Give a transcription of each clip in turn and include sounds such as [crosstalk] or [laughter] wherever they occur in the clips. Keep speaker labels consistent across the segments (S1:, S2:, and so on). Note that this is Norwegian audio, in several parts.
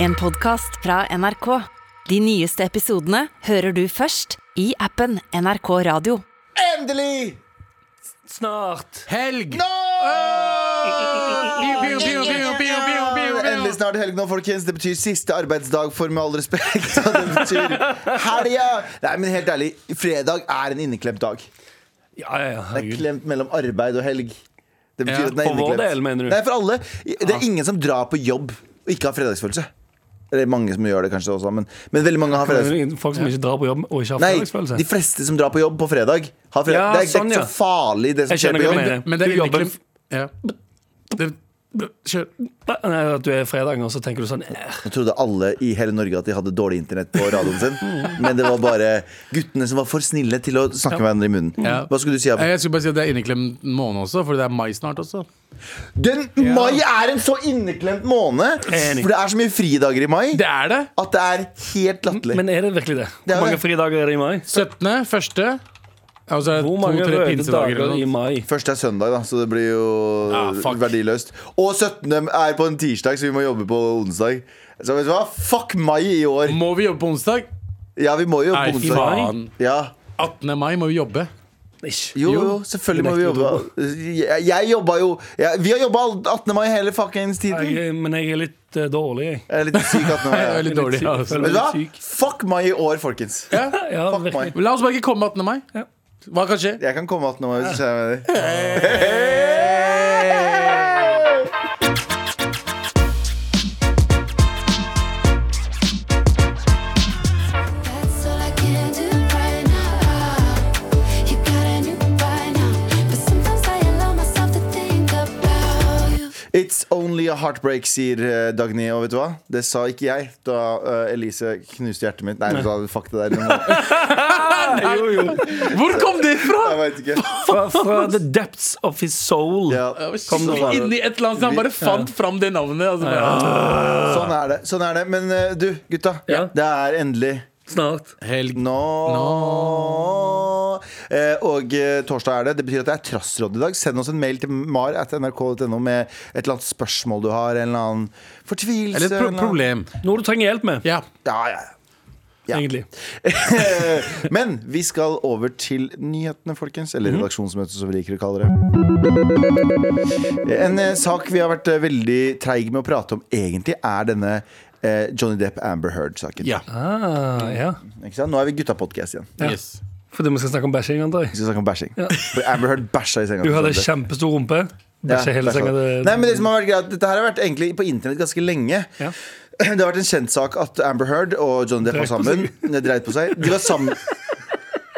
S1: En podcast fra NRK. De nyeste episodene hører du først i appen NRK Radio.
S2: Endelig!
S3: Snart.
S4: Helg!
S2: Nå!
S4: Pew, pew, pew, pew, pew, pew, pew, pew.
S2: Endelig snart helg nå, folkens. Det betyr siste arbeidsdag for med all respekt. [laughs] Og det betyr helga! Nei, men helt ærlig, fredag er en inneklemt dag.
S3: Ja, ja,
S2: Det
S3: ja.
S2: er
S3: Herregud.
S2: klemt mellom arbeid og helg. Det betyr
S4: Ja,
S2: at den er
S3: for vår
S2: inneklemt.
S3: del, mener du? Ah.
S2: Nei, for alle. Det er ingen som drar på jobb og ikke har fredagsfølelse. Eller mange som gjør det kanskje også, men, men veldig mange har
S3: Det er
S2: fredagsfølelse.
S3: jo Folk som ikke drar på jobb og ikke har
S2: Nei,
S3: fredagsfølelse.
S2: de fleste som drar på jobb på fredag, har fredag.
S3: Ja,
S2: det, er, det er
S3: sånn,
S2: ikke
S3: ja.
S2: så farlig, det som
S3: Jeg skjønner
S2: skjer på
S3: hva du
S2: jobb.
S3: mener.
S4: Men det er
S3: Du jobber-
S4: inneklemt ja. det, det, Kjør.
S3: Nei, at du er fredagen, og så tenker du sånn eh,
S2: Nå trodde alle i hele Norge at de hadde dårlig internett på radioen sin. Men det var bare guttene som var for snille til å snakke med hverandre i munnen.
S4: Ja. Eh,
S2: Hva skulle du si? Abu?
S4: Jeg skulle bare si at det er inneklemt måned også, for det er mai snart også.
S2: Den Mai er en så inneklemt måned!
S3: Enig.
S2: For det er så mye fridager i mai
S4: Det er det!
S2: at det er helt latterlig.
S3: Men er det virkelig det?
S2: Det er
S3: Hvor mange
S2: det.
S3: fridager er det i mai?
S4: 17. første. Og så er det
S3: Hvor mange
S4: to-tre
S3: røde
S4: pinsedager.
S3: dager
S4: eller
S3: i
S4: noe.
S3: mai?
S2: Først er søndag, da, så det blir jo
S4: Ah, fuck.
S2: verdiløst. Og 17. er på en tirsdag, så vi må jobbe på onsdag. Så vet du hva? Fuck mai i år!
S4: Må vi jobbe på onsdag?
S2: Ja, vi må jo
S4: Nei,
S2: jobbe på
S4: fy
S2: onsdag.
S4: faen.
S2: Ja.
S4: 18. mai må vi jobbe.
S3: Ikke.
S2: Jo, jo, selvfølgelig må vi
S3: Det nekter
S2: jobbe. Jeg, jeg jobba jo jeg, Vi har jobba 18. mai hele fuckings tiden.
S3: Jeg, men jeg er litt eh, dårlig, jeg.
S2: Jeg er litt syk at
S3: [laughs]
S2: nå.
S4: Jeg er
S2: Ja.
S4: litt dårlig.
S3: syk.
S4: Altså.
S2: Vet du hva?
S3: syk.
S2: Fuck meg i år, folkens.
S3: Ja,
S2: Fuck
S3: virkelig.
S2: meg.
S4: Men La oss bare ikke komme 18. mai.
S3: Ja.
S4: Hva kan skje?
S2: Jeg kan komme att nå hvis du skjønner hva jeg mener.
S5: That's all I can do right now. You got a new by now, but sometimes I allow myself to think about you.
S2: It's only a heartbreak, sier eh, Dagny. Og vet du hva? Det sa ikke jeg da eh, Elise knuste hjertet mitt. Nei, hun sa fuck det der. men-
S3: Jo, jo.
S4: Hvor kom det fra?
S2: Jeg vet ikke.
S3: [laughs] Fra, fra the depths of his soul.
S2: Ja.
S3: Kom det fra-
S4: Inni et eller annet så han bare fant fram det navnet. Altså, bare,
S2: Sånn er det. sånn er det Men eh, du, gutta.
S3: Ja.
S2: Det er endelig
S3: Snart.
S4: Helg.
S2: nå. Eh, og eh, torsdag er det. Det betyr at det er trassråd i dag. Send oss en mail til mar.nrk.no med et eller annet spørsmål du har. En eller annen fortvilelse.
S4: Eller et
S2: eller
S4: pro
S2: noe.
S4: problem.
S3: Noe du trenger hjelp med,
S4: Ja.
S2: Ja, ja, [laughs] ja. Ja.
S3: egentlig.
S2: Men vi skal over til nyhetene, folkens. Eller
S4: Mhm.
S2: redaksjonsmøtet, som vi liker å kalle det. En eh, sak vi har vært eh, veldig treig med å prate om, egentlig, er denne eh, Johnny Depp-Amber Heard-saken.
S4: ja.
S3: Ah, ja.
S2: Ikke sant? Nå er vi gutta podcast igjen.
S4: Yes.
S3: Fordi vi skal snakke om bæsjing,
S2: Vi
S3: antar jeg.
S2: skal snakke om bæsjing. For Amber Heard bæsja i senga.
S3: Du
S2: til
S3: hadde
S2: Johnny Depp.
S3: kjempestor rumpe. Bæsja hele
S2: bæsja.
S3: senga. det-
S2: Nei, men det som har vært greit, Dette her har vært egentlig på internett ganske lenge.
S3: Ja.
S2: Det har vært en kjent sak at Amber Heard og John Depp var
S3: Dreit på
S2: sammen. Nei, [laughs] Dreit på seg. De var sammen.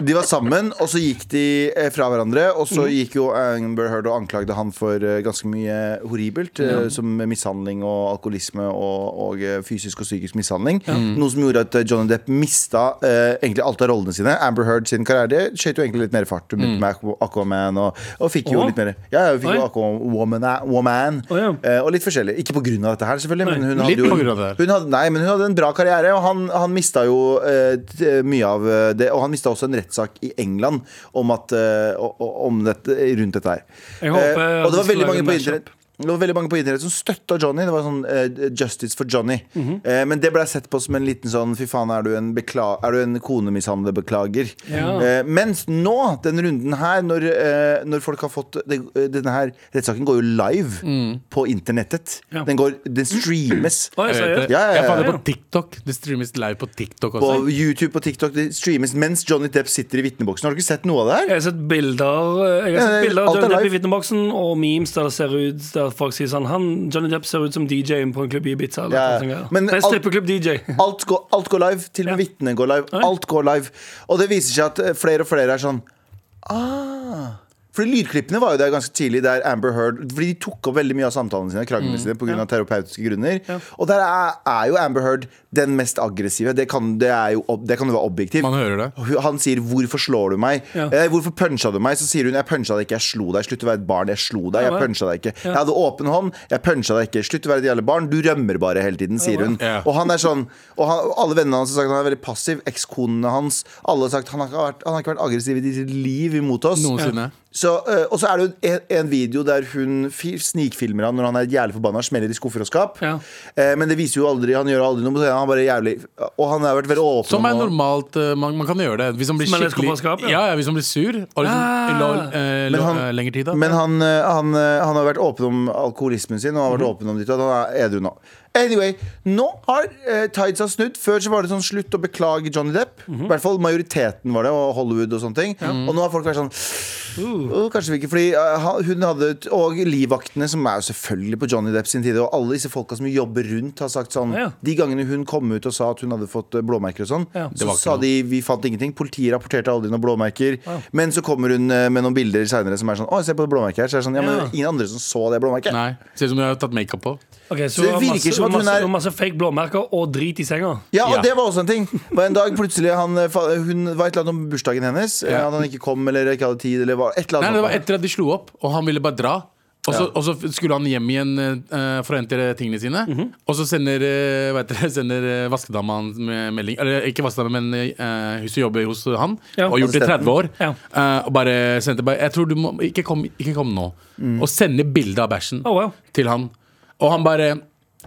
S2: De var sammen, og så gikk de eh, fra hverandre. Og så
S3: Mhm.
S2: gikk jo Amber Heard og anklagde han for eh, ganske mye horribelt. eh, Som mishandling og alkoholisme og, og eh, fysisk og psykisk mishandling.
S3: Mhm.
S2: Noe som gjorde at eh, Johnny Depp mista eh, egentlig alt av rollene sine. Amber Heard sin karriere skjøt jo egentlig litt mer fart. Hun begynte med Aqu- Aquaman og, og fikk jo
S3: Åh?
S2: litt mer Ja, hun fikk jo
S3: Mhm. Oi.
S2: Aquaman, Woman,
S3: Å, ja.
S2: eh, og litt forskjellig. Ikke på grunn av dette her, selvfølgelig. Men hun
S4: Litt
S2: hadde jo,
S4: på grunn av det her.
S2: hun hadde, nei, men hun hadde en bra karriere, og han, han mista jo eh, t- mye av eh, det. Og han mista også en rettssak i England om at, eh, o- o- om dette, rundt dette her.
S3: Jeg håper
S2: Eh, og det var
S3: at vi skal
S2: veldig
S3: lage
S2: mange
S3: en
S2: på
S3: mashup.
S2: internett det var veldig mange på internett som støtta Johnny. Det var sånn eh, Justice for Johnny.
S3: Mhm.
S2: Eh, men det blei sett på som en liten sånn Fy faen, er du en, bekla er du en konemishandlerbeklager?
S3: Ja.
S2: Eh, mens nå, den runden her, når, eh, når folk har fått det, eh, Denne her rettssaken går jo live på internettet.
S3: Ja.
S2: Den, går, den streames.
S3: Oi,
S4: Jeg,
S3: seriøst?
S4: vet det.
S2: Ja, ja, ja,
S4: jeg fant det
S3: ja.
S4: på TikTok. Det streames live på TikTok også.
S2: På YouTube og TikTok. Det streames mens Johnny Depp sitter i vitneboksen. Har du ikke sett noe av det her?
S3: Jeg har sett bilder eh, Jeg har
S2: Ja,
S3: sett bilder av
S2: alt er
S3: Johnny Depp i
S2: live.
S3: vitneboksen og memes der det ser ut Der folk sier sånn han, Johnny Depp ser ut som DJ-en på en klubb i Ibiza. Eller
S2: Ja,
S3: noe sånt greier.
S2: men
S3: Nei,
S2: alt- [laughs]
S3: strippeklubb-DJ.
S2: Alt går, alt går live. Til og med
S3: Ja.
S2: vitnene går live.
S3: Oi.
S2: Alt går live. Og det viser seg at eh, flere og flere er sånn ah. Fordi Lydklippene var jo der ganske tidlig, der Amber Heard Fordi de tok opp veldig mye av samtalene sine,
S3: Mm.
S2: kranglene sine, på grunn av terapeutiske grunner. Og der er, er jo Amber Heard den mest aggressive. Det kan, det er jo, ob- det kan jo være objektivt.
S4: Man hører det.
S2: Hun- Han sier 'hvorfor slår du meg'? Eh, 'Hvorfor puncha du meg?' Så sier hun 'jeg puncha deg ikke, jeg slo deg'. Slutt å være et barn, jeg slo deg. Jeg
S3: Ja, vel.
S2: puncha deg ikke. Jeg hadde åpen hånd, jeg puncha deg ikke. Slutt å være et jævla barn, du rømmer bare hele tiden, sier hun.
S4: Ja.
S2: Og han er sånn Og han, og alle vennene hans har sagt at han er veldig passiv. Ekskonene hans. Alle har sagt han har ikke vært, han har ikke vært aggressiv i sitt liv imot oss.
S4: Noensinne.
S2: Så, eh, og så er det jo en, en video der hun fi- snikfilmer han når han er jævlig forbanna og smeller i skuffer og skap.
S3: Ja.
S2: Eh, men det viser jo aldri Han gjør aldri noe. men Han er bare jævlig Og han har vært veldig åpen.
S4: Som er
S2: om å-
S4: normalt. eh, Man, man kan gjøre det. Hvis man blir
S3: Smeller
S4: skikkelig
S3: skuffa skap, ja.
S4: ja, ja, hvis man blir sur. Og liksom,
S3: Ah.
S4: la- eh,
S2: Men
S4: la-
S2: han-
S4: eh, lenger tid, da.
S2: Men han, eh, han, eh, han har vært åpen om alkoholismen sin og har vært
S4: Mhm.
S2: åpen om ditt, og at han er edru nå. Anyway, nå har eh, Tides har snudd. Før så var det sånn slutt å beklage Johnny Depp.
S4: Mhm.
S2: I hvert fall majoriteten var det, og Hollywood og sånne ting. Og nå har folk vært sånn «Åh,
S4: Uh.
S2: Kanskje vi ikke Fordi eh, han- hun hadde et- Og livvaktene, som er jo selvfølgelig på Johnny Depp sin tide, og alle disse folka som jobber rundt, har sagt sånn
S3: Ja.
S2: De gangene hun kom ut og sa at hun hadde fått eh, blåmerker og sånn,
S3: Ja.
S2: så
S4: Det var ikke
S2: sa
S4: noe.
S2: de vi fant ingenting. Politiet rapporterte aldri noen blåmerker. Men så kommer hun eh, med noen bilder senere som er sånn Å, se på det blåmerket her. Så er det sånn, ja, men
S3: Ja.
S2: det er ingen andre som så det blåmerket.
S4: Nei, Ser ut som du har tatt makeup på.
S3: Ok, så,
S2: det
S3: hun har
S2: virker
S3: masse,
S2: som at hun
S3: masse,
S2: er-
S3: masse fake blåmerker og drit i senga.
S2: [laughs] Ja, og
S4: Ja.
S2: det var også en ting. Det var en dag plutselig han, eh, fa- Hun det var et eller annet om bursdagen hennes. eh,
S4: Ja.
S2: At han ikke kom eller ikke hadde tid eller var et eller
S4: Nei,
S2: annet.
S4: det var
S2: sånt.
S4: etter at de slo opp, og han ville bare dra. Og så, og så skulle han hjem igjen eh, for å hente tingene sine. Og så sender, eh, hva heter det, [laughs] sender eh, vaskedama han med melding Eller ikke vaskedama, men eh, hun som jobber hos han.
S3: Ja.
S4: Og har gjort det i 30 år.
S3: Ja.
S4: eh, og bare sendte bare Jeg tror du må Ikke kom, ikke kom nå. Og sender bilde av bæsjen
S3: Oh, wow.
S4: til han. Og han bare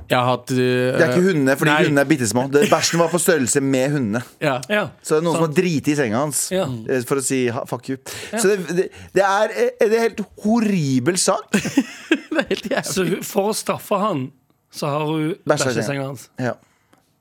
S4: Jeg har hatt
S2: det er ikke
S4: eh,
S2: hundene, fordi hundene er bitte små. Bæsjen var på størrelse med hundene.
S4: eh, Ja.
S3: Ja.
S2: Så det er noen som
S3: Sant.
S2: har driti i senga hans
S3: Ja.
S2: eh, for å si ha- fuck you. Så det, det, det er eh, det er en helt horribel sak.
S4: Det er helt jævlig.
S3: Så hun- for å straffe han, så har hun
S2: Bæsja i
S3: bæsja i
S2: senga.
S3: senga hans.
S2: Ja.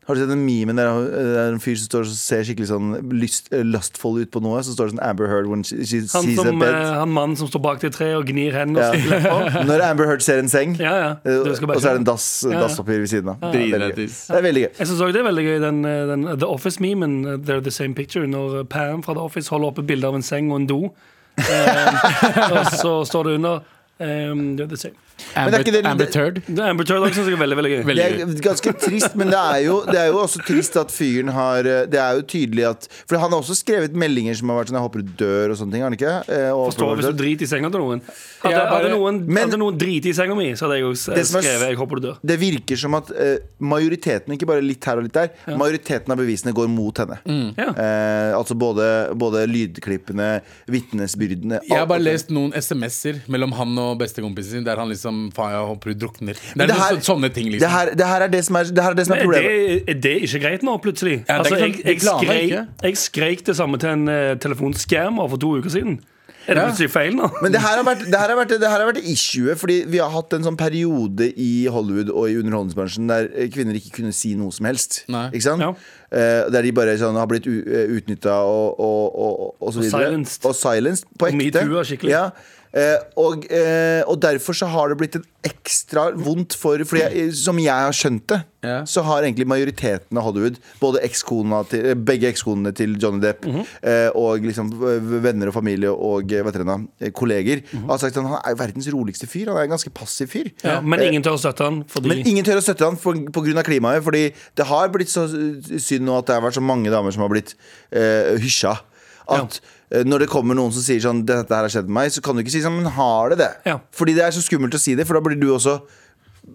S2: Har du sett den memen der det er en fyr som står og ser skikkelig sånn lyst, eh, lustful ut på noe? Så står det sånn Amber Heard when she, she
S3: Han,
S2: sees a
S3: som,
S2: bed.
S3: eh, han mannen som står bak det treet og gnir hendene og
S2: Ja.
S3: stikker lepper.
S2: [laughs] Når Amber Heard ser en seng,
S3: Ja, ja.
S2: eh,
S3: Du skal
S2: og så er
S3: bæsje.
S2: det en dass,
S3: ja.
S2: dasspapir ved siden av. Det, er veldig gøy.
S4: Dritlættis.
S2: det er veldig gøy.
S3: Jeg synes også det er veldig gøy, den, eh, den eh, The Office-memen. eh, They're the same picture. Når eh, Pam fra The Office holder opp et bilde av en seng og en do. Eh, [laughs] og så står det under ehm, They're the same.
S2: det er ikke det-
S4: Amber, Amber
S2: det-
S4: Turd.
S3: Det er Amber Turd også, synes jeg er veldig, veldig gøy.
S2: Det
S4: Veldig
S2: er ganske trist, men det er, jo, det er jo også trist at fyren har eh, Det er jo tydelig at For han har også skrevet meldinger som har vært sånn 'Jeg håper du dør' og sånne ting. Har han ikke? Eh, og
S3: Forstår
S2: håper du
S3: hvis
S2: dør.
S3: du driter i senga til noen. Hadde,
S4: Ja, bare-
S3: hadde noen,
S2: Men-
S3: hadde noen driti i senga mi, så hadde jeg også eh,
S2: Det som er s-
S3: skrevet 'Jeg håper du dør'.
S2: Det virker som at eh, majoriteten, ikke bare litt her og litt der, majoriteten av bevisene går mot henne.
S3: Ja.
S2: Eh, altså både, både lydklippene, vitnesbyrdene
S4: Jeg har
S2: alt-
S4: bare lest noen SMS-er mellom han og bestekompisen sin der han liksom Faen, jeg håper du drukner. Det er
S2: det her-
S4: noen så, sånne ting,
S2: det
S4: liksom.
S2: her, det her er det som er, det her er, det som er
S3: Er
S2: problemet.
S3: det, er det ikke greit nå, plutselig?
S4: Ja, det er
S3: altså,
S4: ikke
S3: jeg,
S4: sant.
S3: jeg,
S4: De klarer
S3: skreik,
S4: ikke.
S3: jeg skreik det samme til en uh, telefonskjermer for to uker siden. Er det
S4: Ja.
S3: plutselig feil nå?
S2: Men det her har vært, det her har vært, det her har vært issuet, fordi vi har hatt en sånn periode i Hollywood og i underholdningsbransjen der eh, kvinner ikke kunne si noe som helst.
S4: Nei.
S2: Ikke sant?
S3: Ja.
S2: Eh, der de bare sånn, har blitt utnytta og, og, og, og så videre.
S3: silenced.
S2: Og silenced. På
S3: Og
S2: ekte.
S3: metoo er skikkelig.
S2: Ja. Eh, og, eh, og derfor så har det blitt en ekstra vondt for Fordi jeg, som jeg har skjønt det,
S4: Ja.
S2: så har egentlig majoriteten av Hollywood, både ekskona til, eh, begge ekskonene til Johnny Depp eh, og liksom eh, venner og familie og eh, vet dere, hva, eh, kolleger, har sagt at han er verdens roligste fyr. Han er en ganske passiv fyr.
S3: Ja, men ingen tør å støtte han fordi
S2: Men ingen tør å støtte han pga. klimaet, fordi det har blitt så eh, synd nå at det har vært så mange damer som har blitt eh, hysja. At eh, når det kommer noen som sier sånn 'dette her har skjedd med meg', så kan du ikke si sånn 'men har det det'?
S3: Ja.
S2: Fordi det er så skummelt å si det, for da blir du også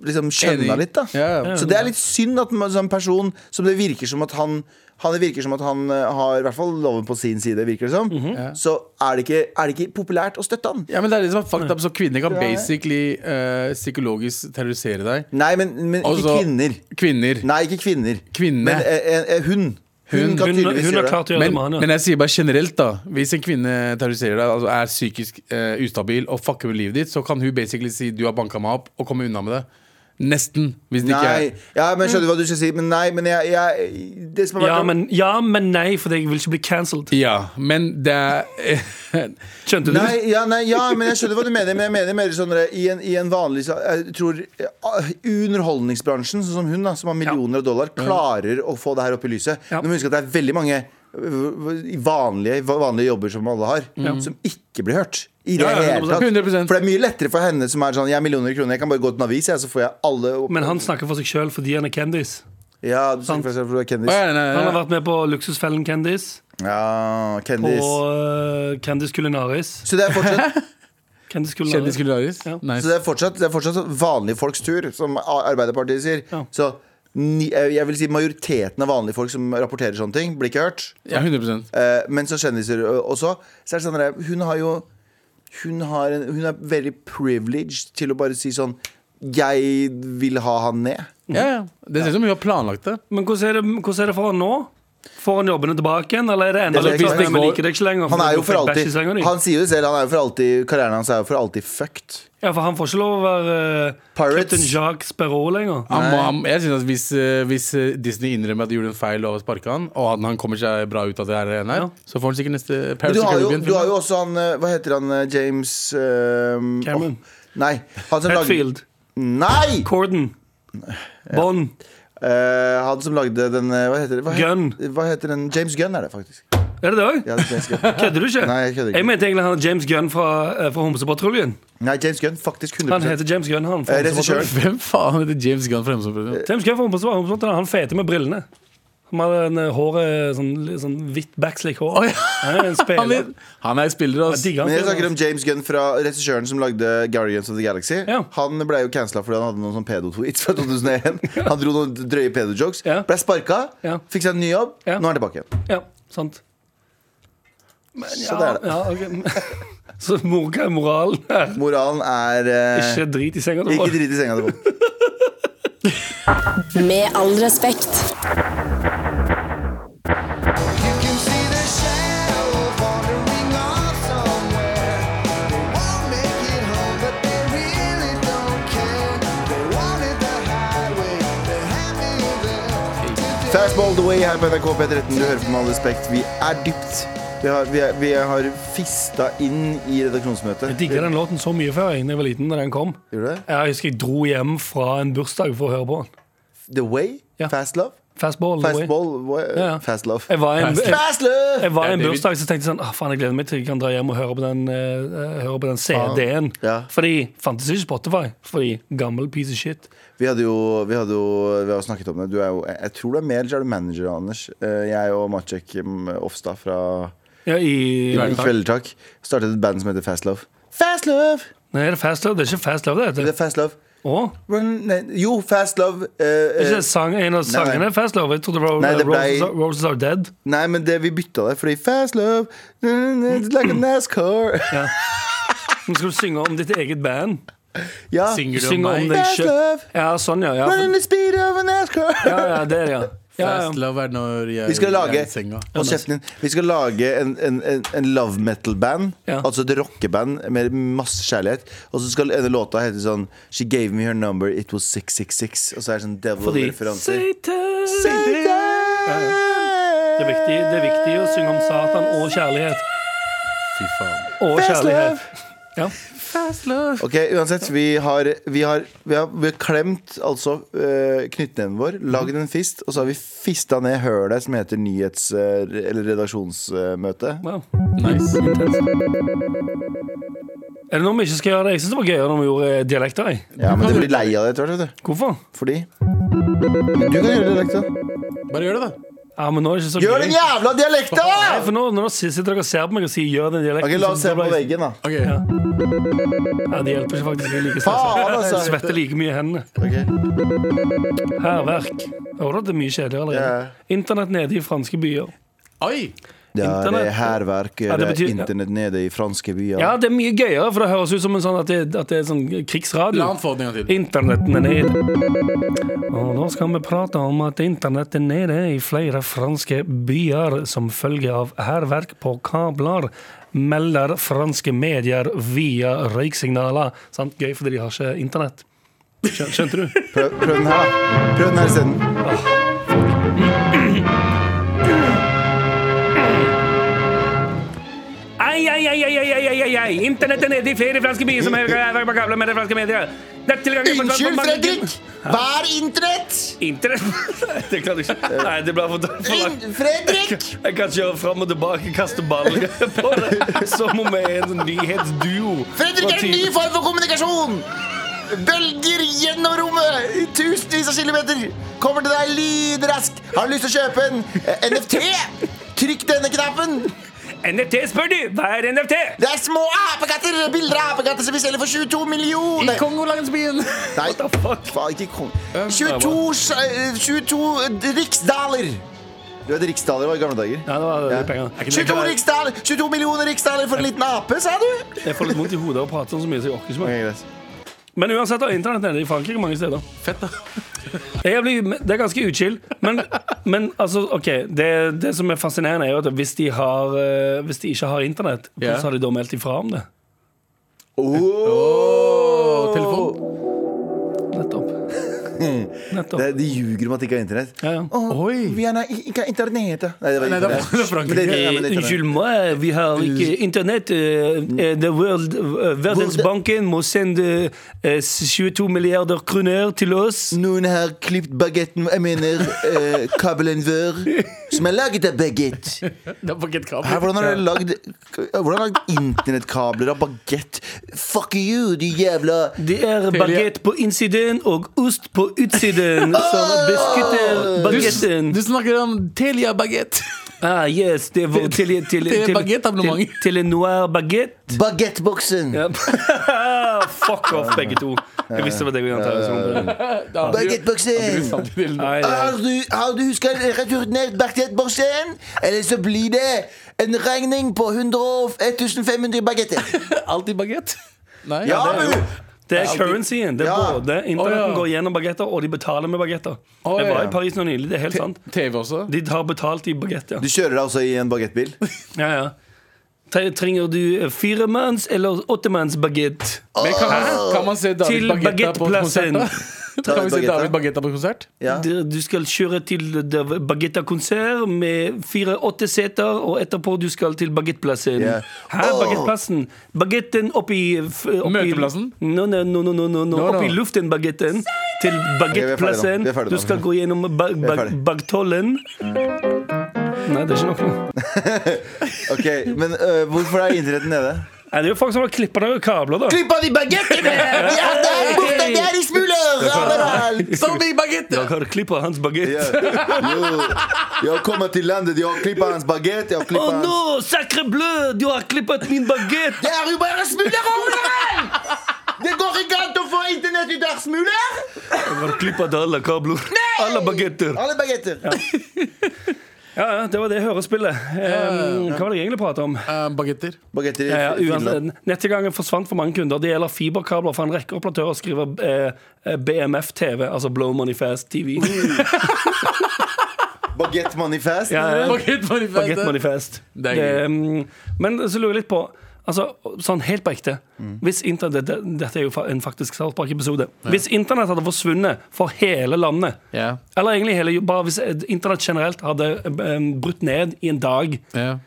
S2: liksom skjønna
S4: Enig.
S2: litt, da.
S4: Ja, ja.
S2: Så det er litt synd at man- sånn person som det virker som at han han det virker som at han eh, har i hvert fall loven på sin side, virker det som.
S4: Mhm.
S2: Så er det, ikke, er det ikke populært å støtte han.
S4: Ja, men det er det som er fucked up. Så kvinner kan basically eh, psykologisk terrorisere deg.
S2: Nei, men, men ikke
S4: Altså-
S2: kvinner.
S4: Kvinner.
S2: Nei, ikke kvinner.
S4: Kvinne.
S2: Men eh, eh, eh, hun. Hun,
S4: Hun-
S2: kan
S3: Hun,
S2: tydeligvis
S3: hun har
S2: gjøre
S3: klart
S2: det.
S3: å gjøre
S4: Men,
S3: det med han, ja.
S4: men jeg sier bare generelt, da. Hvis en kvinne terroriserer deg, altså er psykisk eh, ustabil og fucker med livet ditt, så kan hun basically si 'du har banka meg opp', og komme unna med det. Nesten. Hvis det ikke
S2: Nei,
S4: er
S2: ja, men skjønner du hva du skal si? Men nei, men jeg, jeg Det som har vært
S3: Ja, men, ja, men nei, for jeg vil ikke bli cancelled.
S4: Ja, men det [laughs] er
S3: Skjønte du?
S2: Nei, ja, nei, ja, men jeg skjønner hva du mener. Men jeg mener mer sånn eh, i en, i en vanlig sa- Jeg tror eh, underholdningsbransjen, sånn som hun, da, som har millioner av dollar, klarer å få det her opp i lyset.
S3: Mm. Ja.
S2: Du må huske at det er veldig mange eh, vanlige, vanlige jobber som alle har, som ikke blir hørt. I det
S3: Ja, ja,
S2: hele tatt.
S4: 100%.
S2: For det er mye lettere for henne som er sånn Jeg har millioner kroner, jeg kan bare gå til en avis, jeg, så får jeg alle opp.
S3: Men han snakker for seg sjøl fordi han er kendis.
S2: Ja, du
S3: Sant.
S2: snakker for for du er
S4: Å,
S2: kendis.
S4: ja,
S3: Han
S4: nei,
S3: har
S4: nei,
S3: vært med på Luksusfellen Kendis
S2: Ja,
S3: og
S2: kendis.
S3: uh, Kendis Kulinaris.
S2: Så det er fortsatt,
S3: Kendis
S4: nei.
S3: Kulinaris.
S4: Kjendis Kulinaris?
S3: Ja.
S4: Nice.
S2: så det er fortsatt, det er fortsatt sånn vanlige folks tur, som A- Arbeiderpartiet sier.
S3: Ja.
S2: Så ni, eh, jeg vil si majoriteten av vanlige folk som rapporterer sånne ting, blir ikke hørt.
S4: Ja, 100
S2: Eh, men så kjendiser ø, også. Så er det sånn der, hun har jo hun, har en, hun er veldig privileged til å bare si sånn Jeg vil ha han ned.
S4: Ja, ja. Det ser ut som hun har planlagt det.
S3: Men hvordan er det, hvordan er det for han nå? Får han jobbene tilbake igjen, eller er det enda
S2: Det er
S3: litt sånn
S2: ikke-
S3: at vi liker deg ikke lenger?
S2: Han
S3: for
S2: er
S3: du
S2: jo for
S3: fikk bæsj i
S2: alltid
S3: senga di?
S2: Han sier jo selv, han er jo for alltid karrieren hans er jo for alltid fucked.
S3: Ja, for han får ikke lov å være eh,
S2: Pirates.
S3: Captain Jacques Sparrow lenger.
S4: Han må, han, jeg synes at hvis, eh, hvis eh, Disney innrømmer at de gjorde en feil og sparka han, og at han kommer seg bra ut av det her, her
S3: Ja.
S4: så får han sikkert neste
S2: Men
S4: Paris
S2: du, har jo,
S4: Caribbean.
S2: du har jo også han eh, Hva heter han? eh, James eh,
S3: Cameron.
S2: åh, nei. Han som lagde
S3: Hetfield.
S2: Nei!
S3: Corden. Bond.
S2: Eh, han som lagde den eh, Hva heter det? Hva het-
S3: Gunn.
S2: Hva heter den? James Gunn er det faktisk.
S3: Er det det òg?
S2: Ja, det er James
S3: [laughs]
S2: Gunn.
S3: Kødder du ikke?
S2: Nei, jeg kødder ikke.
S3: mente egentlig han er James Gunn fra, eh, fra Homsepatruljen.
S2: Nei, James Gunn. Faktisk 100
S3: Han heter James Gunn, han. fra
S2: Eh, regissøren.
S3: Homsepatruljen.
S4: [laughs] Hvem faen heter James Gunn fra Hemsedal?
S3: James Gunn fra Homsepatruljen, Homsepatruljen, han fete med brillene. Han hadde en eh, håret, sånn, litt sånn hvitt backslick hår.
S4: Å, ja.
S3: Han
S2: [laughs]
S3: er en spiller.
S4: Han, er- han er spiller,
S3: Jeg
S4: ass.
S3: digger han.
S2: Men jeg snakker om James Gunn fra regissøren som lagde Guardians of the Galaxy.
S3: Ja.
S2: Han ble jo cancela fordi han hadde noen sånn pedo-tweets fra
S3: [laughs]
S2: 2001. Han dro noen drøye pedo-jokes.
S3: Ja.
S2: Ble sparka,
S3: Ja.
S2: fikk seg en ny jobb,
S3: Ja.
S2: nå er han tilbake igjen.
S3: Ja, sant. Men ja,
S2: Så det er det.
S3: Ja, ok. [laughs] Så mor, hva er moralen her?
S2: Moralen er eh,
S3: Ikke drit i senga. da.
S2: Ikke drit i senga til folk.
S6: Med all respekt.
S2: Fastball the way her på NRK P13. Du hører på Med all respekt. Vi er dypt. Vi har, vi er, vi har fista inn i redaksjonsmøtet.
S3: Jeg digga den låten så mye før jeg da jeg var liten. da den kom
S2: Gjorde du det?
S3: Jeg husker jeg dro hjem fra en bursdag for å høre på den.
S2: The Way?
S3: Ja.
S2: Fast Love?
S3: Fastball. the way.
S2: Fastball?
S3: ja.
S2: Fast Love.
S3: Jeg var i en, jeg,
S2: Fast Love!
S3: jeg var i en
S4: Ja, det er
S3: bursdag så tenkte jeg sånn ah, faen, jeg gleder meg til jeg kan dra hjem og høre på den, eh, eh, høre på den CD-en.
S2: Ja.
S3: Fordi fantes ikke Spotify. Fordi gammel piece of shit.
S2: Vi hadde jo, vi hadde jo vi har jo snakket om det. Du er jo, jeg jeg tror du er mer eller er du manager, Anders. Eh, Jeg og Maciek mm, Ofstad fra
S3: Ja, i,
S4: Kveldertak.
S2: Kveldertak startet et band som heter Fast Love. Fast Love!
S3: nei, er det Fast Love? Det er ikke Fast Love det
S2: Det
S3: heter.
S2: er Fast Love.
S3: Å?
S2: Run, nei, jo, Fast Love. eh,
S3: Ikke
S2: eh,
S3: sang, en
S2: Nei,
S3: av
S2: nei.
S3: sangene er Fast Love. Jeg trodde det var
S2: Nei, det ble-
S3: Roses, Are, Roses Are Dead.
S2: nei, men det, vi bytta det, fordi Fast Love It's like a NASCAR.
S3: Nå skal du synge om ditt eget band.
S2: Ja.
S4: Synger
S3: Du
S4: du om
S3: synger om
S4: meg?
S3: deg
S2: Fast
S3: sjøl.
S2: love.
S3: Ja, sånn, ja. Ja,
S2: Running the speed of a NASCAR.
S3: ja, ja det er det, ja. ja,
S4: Fast
S3: ja.
S4: love er når jeg
S2: Vi skal lage,
S4: er i senga.
S2: hold kjeften din, vi skal lage en, en, en, en love metal-band.
S3: Ja.
S2: Altså et rockeband med masse kjærlighet. Og så skal en låta hete sånn She gave me her number, it was 666. Og så er det sånn
S3: Fordi
S2: devil-referanser.
S3: Satan Det
S2: Det
S3: er, viktig, det er viktig å synge om Satan og kjærlighet.
S4: Fy faen.
S3: Og
S2: Fast
S3: kjærlighet.
S2: love.
S3: Ja.
S2: Ok, uansett, vi har, vi har, vi har, vi har klemt altså eh, knyttneven vår, lagd en fist, og så har vi fista ned hølet som heter nyhets- eh, eller redaksjonsmøte.
S3: Wow.
S4: Nice.
S3: Er det noe vi ikke skal gjøre? Jeg syns det var gøyere når vi gjorde dialekter. Jeg.
S2: Ja, men du blir lei av det etter hvert, vet du.
S3: Hvorfor?
S2: Fordi Du kan gjøre dialekta.
S4: Bare gjør det, da.
S3: Ja, men nå er det ikke så
S2: Gjør den
S3: gøy.
S2: jævla dialekta!
S3: Nei, for nå, når dere sitter dere og ser på meg og sier 'gjør den dialekten'
S2: Ok, La oss
S3: så
S2: se på
S3: blir jeg-
S2: veggen, da.
S4: Ok,
S3: Ja, Det hjelper ikke faktisk. Jeg er like
S2: Faen,
S3: stresset.
S2: altså.
S3: Jeg svetter like mye i hendene.
S2: Ok.
S3: Hærverk. Hører du at det er mye kjedeligere allerede? Internett nede i franske byer.
S4: [laughs] Oi!
S2: Det er
S3: Internett.
S2: eh, hærverk,
S3: Ja, det
S2: det
S3: betyr-
S2: er internett nede i franske byer.
S3: Ja, det er mye gøyere, for det høres ut som en sånn at det, at det er sånn krigsradio.
S4: La han få den en gang til.
S3: Internetten er nede. Og nå skal vi prate om at internett er nede i flere franske byer som følge av hærverk på kabler, melder franske medier via røyksignaler. Sant? Gøy fordi de har ikke internett. Skjøn- Skjønte du?
S2: Prøv, prøv den her, da. Prøv den her isteden.
S3: Ai, ai, ai, ai, ai, ai, ai, ai, ai. Internett er nede i flere franske byer som har hærverk på kabler, melder franske medier. Det er tilgang-
S2: Unnskyld, Fredrik! Hva er internett?
S3: Internett [laughs] Det kan du ikke. Nei, det blir for for langt.
S2: In- Fredrik!
S3: Jeg kan kjøre fram og tilbake, kaste baller [laughs] på det. Som om vi er en nyhetsduo.
S2: Fredrik er en ny form for kommunikasjon! Bølger gjennom rommet i tusenvis av kilometer. Kommer til deg lydraskt. Har du lyst til å kjøpe en eh, NFT? Trykk denne knappen.
S3: NFT spør du! Hva er NFT?
S2: Det er små apekatter! Bilder av apekatter som vi selger for 22
S4: I
S2: millioner.
S3: [laughs]
S4: Kongolandsbyen!
S2: Nei, faen, ikke kong. 22, sj- eh, 22 riksdaler. Du vet riksdaler var i gamle dager.
S3: Ja, det var det penger.
S2: 22 riksdaler! 22 millioner riksdaler for en liten ape, sa du?
S3: Jeg får litt vondt i hodet av å prate sånn så mye, så jeg orker ikke
S2: Ok,
S3: mer.
S2: greit.
S3: Men uansett, da, internett er nede i Frankrike mange steder.
S4: Fett, da.
S3: [laughs] Jeg blir, det er ganske utskill. Men, men altså, OK. Det, det som er fascinerende, er jo at hvis de, har, eh, hvis de ikke har internett,
S4: Ja.
S3: hvordan har de da meldt ifra om det?
S4: Og telefon.
S3: Nettopp. Nettopp.
S2: Det, de ljuger om at de ikke har internett.
S3: Ja, ja.
S2: Åh,
S4: Oi.
S2: Vi har ikke har internett. Nei, det var
S4: Nei, det var-
S2: internett.
S4: det var Frankrike.
S2: Men det- ja, men det er internett.
S3: Eh, Unnskyld meg, vi har ikke internett. eh, eh, The World, eh, Verdensbanken må sende eh, 22 milliarder kroner til oss.
S2: Noen har klippet bagetten Jeg mener eh, kabelen vår Som er laget av bagett
S4: Det er
S2: Her,
S4: pakketkabel.
S2: Hvordan har dere lagd Hvordan har dere lagd internettkabler av bagett Fuck you, du jævla
S3: Det er bagett på innsiden og ost på utsiden som beskytter
S4: Du, s-
S3: bagetten.
S4: du snakker om
S2: [laughs]
S4: Telia Baguette.
S3: Ah, yes, det var til, til,
S4: Det er
S3: til, til,
S4: baguetteabonnement.
S3: til en noir baguette.
S2: Bagettboksen
S3: Ja. Ah, Fuck off, begge to. Jeg visste det var det vi antok.
S2: Bagettboksen Har
S3: Nei, det-
S2: Ah, du, har du husket returnert bagettboksen Eller så blir det En regning eh, på 100 1500 bagetter
S4: Alltid baguette. Nei,
S2: Ja,
S4: det er jo-
S2: men
S3: Det er currencyen. Det er
S2: Ja.
S3: både Internetten
S4: Å, ja.
S3: går gjennom bagetter, og de betaler med bagetter.
S4: Å,
S3: Jeg var
S4: ja.
S3: i Paris nå nylig. Det er helt sant.
S4: TV også.
S3: De har betalt i bagett, ja.
S2: Du kjører deg altså i en bagettbil
S3: ja, ja. Tre- Trenger du firemanns- eller åttemannsbagett?
S4: Men kan, man- kan man se David
S3: Til
S4: Baguette på konsert?
S3: baguetteplassen.
S4: da? [laughs] Kan vi se
S2: Baguette.
S4: David Baguette på konsert?
S2: ja.
S3: Der [laughs] Du skal kjøre til Baguetta-konsert med fire-åtte seter, og etterpå du skal til Baguetteplassen.
S2: Ja.
S3: Hæ,
S2: Åh!
S3: Baguetteplassen? Baguetten oppi, f- oppi
S4: Møteplassen?
S3: No, no, no, no, no, no, no.
S4: No, no.
S3: Oppi luften, Baguetten. Til
S2: Ok,
S3: Baguetteplassen.
S2: vi er ferdig nå. Vi er ferdig
S3: Du
S2: nå.
S3: skal gå gjennom ba
S2: er
S3: ba
S2: ferdig.
S3: Bagtollen. Nei, det er ikke noe.
S2: Ok, men øh, hvorfor er internetten nede?
S3: Nei, det er jo folk som har klippa ned kabler, da.
S2: Klipp av de bagettene! Ja, det er borte, det er i smuler overalt!
S4: Zombie Baguette!
S3: Jeg har klippa hans bagett.
S2: Ja. Jo, jeg har kommet til landet, jeg har klippet hans bagett, jeg har
S3: Å
S2: klippet
S3: no,
S2: hans...
S3: sacre bleu, du har klippet min bagett!
S2: Det er jo bare smuler overalt! Det går ikke an å få internett ut av smuler!
S3: Jeg har klippet alle kabler. Alle bagetter.
S2: Alle bagetter.
S3: Ja, ja, det var det hørespillet. Um, hva var det jeg egentlig pratet om?
S4: Eh,
S2: [laughs]
S4: bagetter.
S2: Bagetter i
S3: Ja, ja,
S2: Finland.
S3: uansett, Nettilgangen forsvant for mange kunder. Det gjelder fiberkabler fra en rekke operatører, skriver eh, BMF-TV, altså Blow Money Fast TV.
S2: Bagettmanifest.
S3: Ja, ja.
S4: Baguette Manifest.
S3: Baguette Manifest.
S4: Det er
S3: Det, mm, men så lurer jeg litt på Altså, sånn helt på ekte Hvis internett, det, Dette er jo fa- en faktisk Southpark-episode. Hvis internett hadde forsvunnet for hele landet
S4: Ja.
S3: Eller egentlig hele, bare hvis eh, internett generelt hadde eh, brutt ned i en dag
S4: Ja.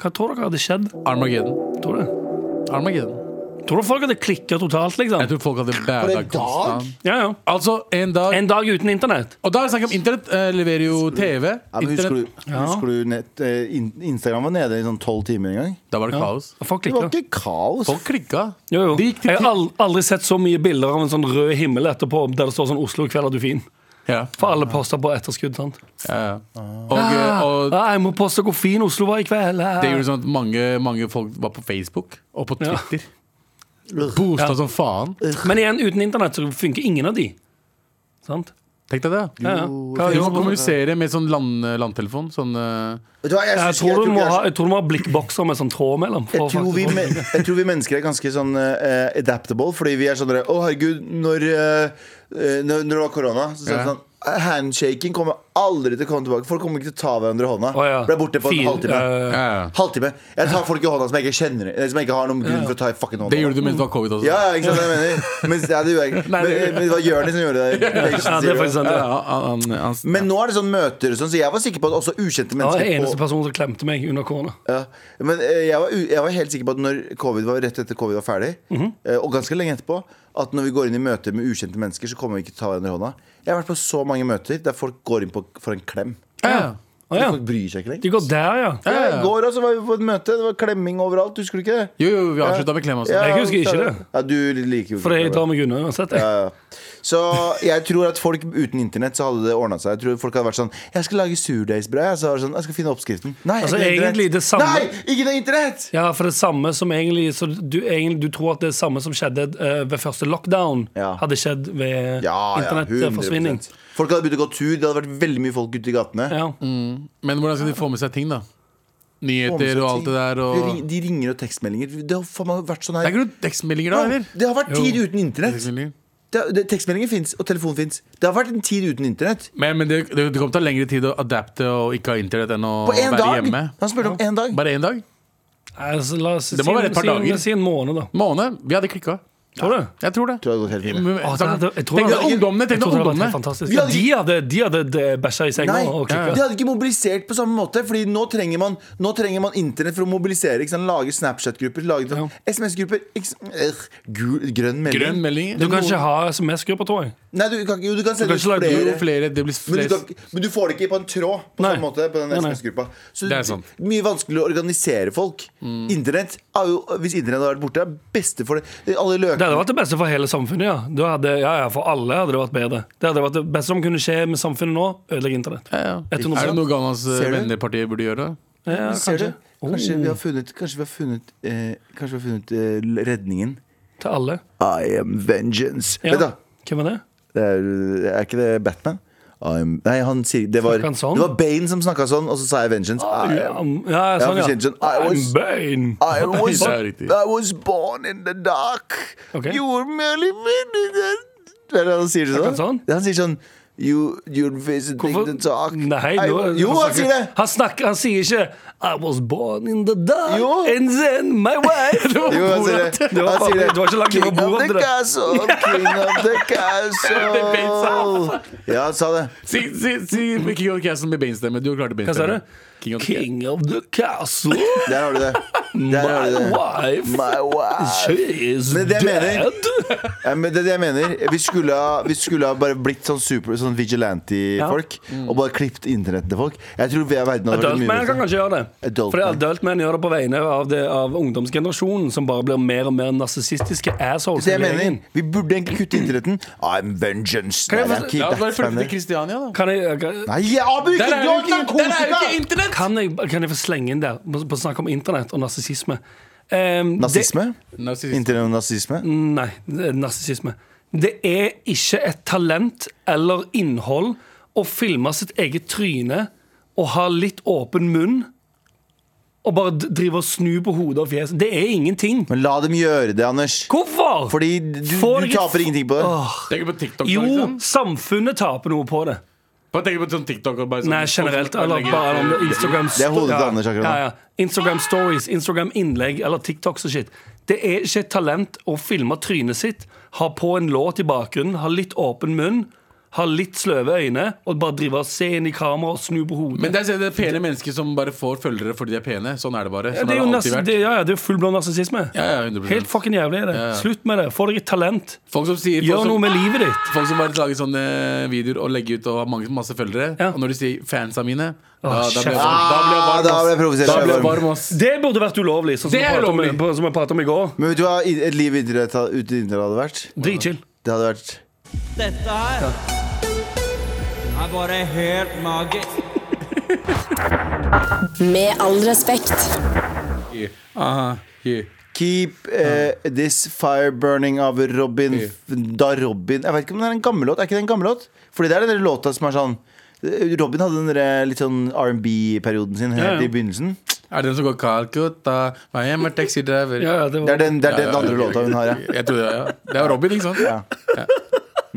S3: Hva tror dere hadde skjedd?
S4: Armageddon.
S3: Tror du?
S4: Armageddon.
S3: Tror du folk hadde klikket totalt,
S4: Jeg
S3: liksom?
S4: tror folk hadde
S2: dag?
S4: hverdagsstand.
S3: Ja, ja.
S4: Altså, en dag
S3: En dag uten internett.
S4: Og da er det snakk om internett. eh, leverer jo TV.
S2: Ja, men husker
S4: Internett.
S2: du, husker du nett, eh, in- Instagram var nede i sånn 12 timer en gang?
S4: Da var det kaos.
S3: Og Folk
S2: Det var
S3: klikker.
S2: ikke kaos.
S4: Folk klikka.
S3: Jo, jo.
S4: De gikk til
S3: Jeg har al- aldri sett så mye bilder av en sånn rød himmel etterpå der det står sånn 'Oslo, i kveld er du fin'.
S4: Ja.
S3: For alle poster på etterskudd. sant?
S4: Ja, ja. Og, eh, og
S3: Ah, jeg må poste hvor fin Oslo var i kveld. ah.
S4: det gjorde sånn at mange, mange folk var på Facebook og på Twitter. Boosta som faen.
S3: Men igjen, uten internett så funker ingen av de. Sant?
S4: Tenk deg det.
S3: Ja, ja. Hva,
S4: Du må
S3: jeg,
S4: kommunisere med sånn land, landtelefon. Sånn eh,
S2: Vet du hva, jeg, synes- jeg
S3: tror du må
S2: vi er
S3: ha,
S2: så-
S3: jeg tror du må ha blikkbokser med sånn tråd mellom. for
S2: jeg tror, vi,
S3: faktisk-
S2: men- jeg tror vi mennesker er ganske sånn eh, adaptable, fordi vi er sånn derre Å, herregud, når, eh, eh, når, når det var korona, så sa vi
S4: Ja.
S2: sånn Handshaking kommer aldri til å komme tilbake. Folk kommer ikke til å ta hverandre i hånda.
S3: Å, ja.
S2: Ble borte på en
S3: Fin-
S2: halvtime.
S3: eh,
S4: ja, ja.
S2: halvtime. Jeg tar folk i hånda som jeg ikke kjenner eh, Som jeg ikke har noen grunn for å ta i fucking hånda.
S4: Det gjorde du mens det var covid også.
S2: Ja, ja, ikke sant det jeg mener Mens, ja, det gjorde jeg ikke.
S3: Nei,
S2: Men,
S3: det-
S2: men det var Jonis som gjorde det.
S3: ja, det er faktisk sant.
S4: Ja,
S3: Ja.
S4: ja, han, han, han,
S2: Men nå er det sånn møter, og sånn, så jeg var sikker på at også ukjente
S3: Jeg var
S2: mennesker
S3: den eneste
S2: på,
S3: personen som klemte meg under korona.
S2: ja. Men eh, jeg var, u- jeg var helt sikker på at når covid var rett etter covid var ferdig,
S3: Mhm.
S2: eh, og ganske lenge etterpå, at når vi går inn i møter med ukjente mennesker, så kommer vi ikke til å ta hverandre i hånda. Jeg har vært på så mange møter der folk går inn på, for en klem.
S4: ja.
S3: Å, ja.
S2: Folk bryr seg ikke
S3: De
S2: lenger.
S3: går der, ja.
S2: Ja, I går også var vi på et møte, det var klemming overalt. Husker du ikke det?
S4: Jo, jo, vi avslutta med klem også.
S2: Ja,
S3: Altså, Jeg husker ikke
S2: så-
S3: det.
S2: Ja, du liker jo ikke
S3: For
S2: klem.
S3: jeg drar meg unna uansett. jeg.
S2: Ja, ja. Så jeg tror at folk uten internett så hadde det ordna seg. Jeg tror folk hadde vært sånn Jeg skal lage surdeigsbrød. Jeg, så var det sånn, jeg skal finne oppskriften. Nei, jeg
S3: Altså,
S2: har ikke
S3: egentlig
S2: internett.
S3: det samme-
S2: Nei, ikke noe internett!
S3: Ja, for det samme som egentlig Så du, egentlig, du tror at det samme som skjedde eh, ved første lockdown,
S2: Ja.
S3: hadde skjedd
S2: [laughs]
S3: ved
S2: Ja, ja, 100%.
S3: eh, internettforsvinning.
S2: Folk hadde begynt å gå tur, det hadde vært veldig mye folk ute i gatene.
S3: Ja.
S4: Men hvordan skal de få med seg ting, da?
S2: Få med seg
S4: Nyheter og
S2: ting.
S4: alt det der. Og...
S2: de, ring, de ringer og tekstmeldinger. Det har faen meg vært sånn
S4: Det er
S2: her.
S4: ikke noen tekstmeldinger da, eller?
S2: det har vært
S3: Jo.
S2: tid uten internett.
S4: Tekstmeldinger.
S2: Det, det, tekstmeldinger fins, og telefon fins. Det har vært en tid uten internett.
S4: Men, men det, det kommer til å ta lengre tid å adapte og ikke ha internett enn å
S2: På én
S4: være
S2: dag!
S4: hjemme.
S2: Han spurte om én dag.
S4: Bare én dag?
S3: Altså, la oss
S4: Det må
S3: si-
S4: være et par
S3: si-
S4: dager.
S3: Si en måned, da.
S4: Måned? Vi hadde klikka.
S3: Tror du?
S4: Jeg tror det.
S2: Tror jeg det hadde gått helt fint.
S4: Men-
S3: Å, det
S4: Tenk
S3: hadde- jeg tror
S4: tenk deg
S3: det-
S4: ungdommene!
S3: Jeg tror det hadde
S4: Tenk deg
S3: vært
S4: ungdommene
S3: helt fantastisk.
S2: Vi hadde-
S3: De hadde, de hadde bæsja i senga
S2: Nei,
S3: og
S2: de
S3: klikka.
S2: hadde ikke mobilisert på samme måte. Fordi nå trenger man, nå trenger man internett for å mobilisere. Ikke sant? Lage Snapchat-grupper, lage sånn
S3: Ja.
S2: SMS-grupper. ikke sant? Øh, gul- Grønn melding.
S4: Grønn melding.
S3: Du kan ikke ha SMS-grupper, tror jeg.
S2: Nei, du kan, ikke- jo, du kan sende
S3: kan
S2: ut
S3: ikke lage-
S4: Jo,
S2: flere.
S4: flere, det blir
S2: Men du,
S4: flere.
S2: kan, ikke- men du får det ikke på en tråd på
S3: Nei.
S2: samme måte på den
S3: Nei, nei.
S2: SMS-gruppa. Så
S4: Det er sant.
S2: mye vanskeligere å organisere folk.
S3: Mm.
S2: Internett er jo, Hvis internett hadde vært borte, er beste for det. Alle
S3: Det hadde
S2: løkene
S3: vært det beste for hele samfunnet, ja. Du hadde, ja, ja for alle hadde det vært bedre. Det hadde vært det beste som kunne skje med samfunnet nå, ødelegge internett.
S4: Ja, ja. Er
S3: 100%.
S4: det noe Ganas
S2: Ser du?
S4: vennepartiet burde gjøre?
S3: Ja,
S2: Ser du?
S3: kanskje. Oh,
S2: Kanskje vi har funnet, kanskje vi har funnet, eh, kanskje vi har funnet eh, redningen.
S3: Til alle.
S2: I am vengeance.
S3: Ja.
S2: Vent da.
S3: Hvem er det?
S2: Det er, er ikke det Batman? I'm, nei, han sier det var,
S3: Snakker han sånn? Ah,
S2: det var Bane som snakka sånn, og så sa jeg Vengeance. I
S3: Ja,
S2: am, Ja,
S3: ja, sånn, ja.
S2: for kjent sånn, I was-
S3: I'm Bane. [laughs]
S2: I was,
S4: Det er riktig.
S2: I was born in the dark.
S3: Ok.
S2: You were merely meaningless. Hva er det han sier
S3: Snakker
S2: sånn?
S3: han sånn?
S2: Ja, Han sier sånn You, you're visiting
S3: Hvorfor-
S2: the dark.
S3: Nei,
S2: I-
S3: nå,
S2: jo, han
S3: snakker-
S2: sier det!
S3: Han, snakker, han sier ikke I was born in the dark
S2: Jo.
S3: And then my
S2: [laughs]
S3: wife Det var
S2: Jo, han sier
S3: Borat.
S2: det.
S3: Det
S2: Han
S3: var,
S2: sier det.
S3: det var ikke langt
S2: King
S3: fra
S2: of
S3: bordet
S2: the castle, king of the
S3: [laughs]
S2: castle. Ja, han sa det.
S4: Si, si, si King of the Castle med Bane-stemme. Du klarte
S3: Hva sa
S4: Bane-stemme.
S3: du?
S4: King of the
S3: King of
S4: Castle.
S3: the castle
S2: Der har du det. Der har
S3: My
S2: du det.
S3: wife
S2: My wife.
S3: She is
S2: Men det jeg mener-
S3: dead
S2: Ja, men det er det jeg mener. Vi skulle ha, vi skulle ha bare blitt sånn super Sånn vigilante-folk. Og bare klippet internettet til folk. Jeg tror vi er verden hadde vært
S3: Adult
S2: mye
S3: man kan
S2: bedre.
S3: kanskje gjøre det.
S2: Adult
S3: Fordi
S2: man.
S3: adult man gjør det på vegne av, det, av ungdomsgenerasjonen, som bare blir mer og mer narsissistiske assholes.
S2: Det jeg
S3: i gjengen.
S2: mener. Vi burde egentlig kutte internetten. I'm vengeance.
S3: Kan jeg
S2: Nei, det
S3: få-
S2: er ikke
S4: Ja, bare
S2: Batman,
S4: flytte til
S2: det.
S4: Kristiania, da.
S3: Kan jeg, kan,
S2: Nei, Abu, ikke
S4: Der
S2: du har
S4: er jo ikke, der er jo ikke
S2: narkotika!
S4: internett!
S3: kan jeg, kan jeg få slenge inn der, på, på snakk om internett og narsissisme? Ehm, Em,
S2: Nazisme?
S4: Narsissist.
S2: Internett og nazisme?
S3: Det,
S4: Mm.
S3: nei, det er narsissisme. Det er ikke et talent eller innhold å filme sitt eget tryne og ha litt åpen munn. Og bare d- drive og snu på hodet og fjeset. Det er ingenting.
S2: Men la dem gjøre det, Anders.
S3: Hvorfor?
S2: Fordi du,
S3: Får
S2: du
S3: ikke-
S2: taper ingenting på det.
S3: Åh.
S4: Tenk på TikTok. da,
S3: Jo,
S4: liksom.
S3: samfunnet taper noe på det.
S4: Bare tenk på sånn TikTok og bare sånn
S3: Nei, generelt. Eller
S4: Legge-
S3: bare om Instagram
S2: Det er hodet til Anders akkurat nå.
S3: ja, ja. Instagram stories, Instagram innlegg eller TikToks og shit. Det er ikke et talent å filme trynet sitt, ha på en låt i bakgrunnen, ha litt åpen munn, ha litt sløve øyne, og bare drive og se inn i kamera og snu på hodet.
S4: Men det er, det er pene mennesker som bare får følgere fordi de er pene. Sånn er det bare.
S3: ja,
S4: Sånn
S3: det er jo
S4: har det
S3: nas-
S4: alltid vært.
S3: det, ja, ja, det er fullblå narsissisme.
S4: Ja, ja, 100%.
S3: Helt fucking jævlig er det.
S4: ja.
S3: Slutt med det. Få deg et talent.
S4: Folk som sier folk
S3: Gjør
S4: som,
S3: noe med livet ditt.
S4: Folk som bare lager sånne eh, videoer og legger ut og har mange, masse følgere.
S3: Ja.
S4: Og når de sier 'fans av mine', da,
S3: Åh,
S4: da blir jeg
S3: kjeft.
S4: varm. Da blir jeg varm,
S2: Ah, da
S4: ass.
S2: ble jeg provosert,
S4: Da
S2: jeg
S4: blir
S2: er
S4: jeg
S2: varm.
S4: varm, ass.
S3: Det burde vært ulovlig, sånn som,
S4: Det
S3: vi
S4: er
S3: pratet om,
S4: ulovlig.
S3: på- som jeg pratet om i går.
S2: Men vet du hva et liv uten internett uten internett hadde vært?
S3: Dritchill.
S2: Det hadde vært
S6: Dette her er bare helt magisk.
S7: Med all respekt.
S4: Aha, yeah.
S2: Keep eh, this fire burning av Robin Da Robin Jeg vet ikke om det er en gammel låt. Er ikke det en gammel låt? Fordi det er den der låta som er sånn eh, Robin hadde den der litt sånn R&B-perioden sin helt
S3: Ja, ja.
S2: i begynnelsen.
S4: Er det den som går Calcutta, I am a taxi driver
S3: Ja, ja, det
S2: Det er
S3: var...
S2: den, det er den
S4: Ja, ja,
S2: andre
S4: ja.
S2: låta hun har, ja.
S4: Jeg tror det, ja. det er Robin, ikke sant?
S2: ja.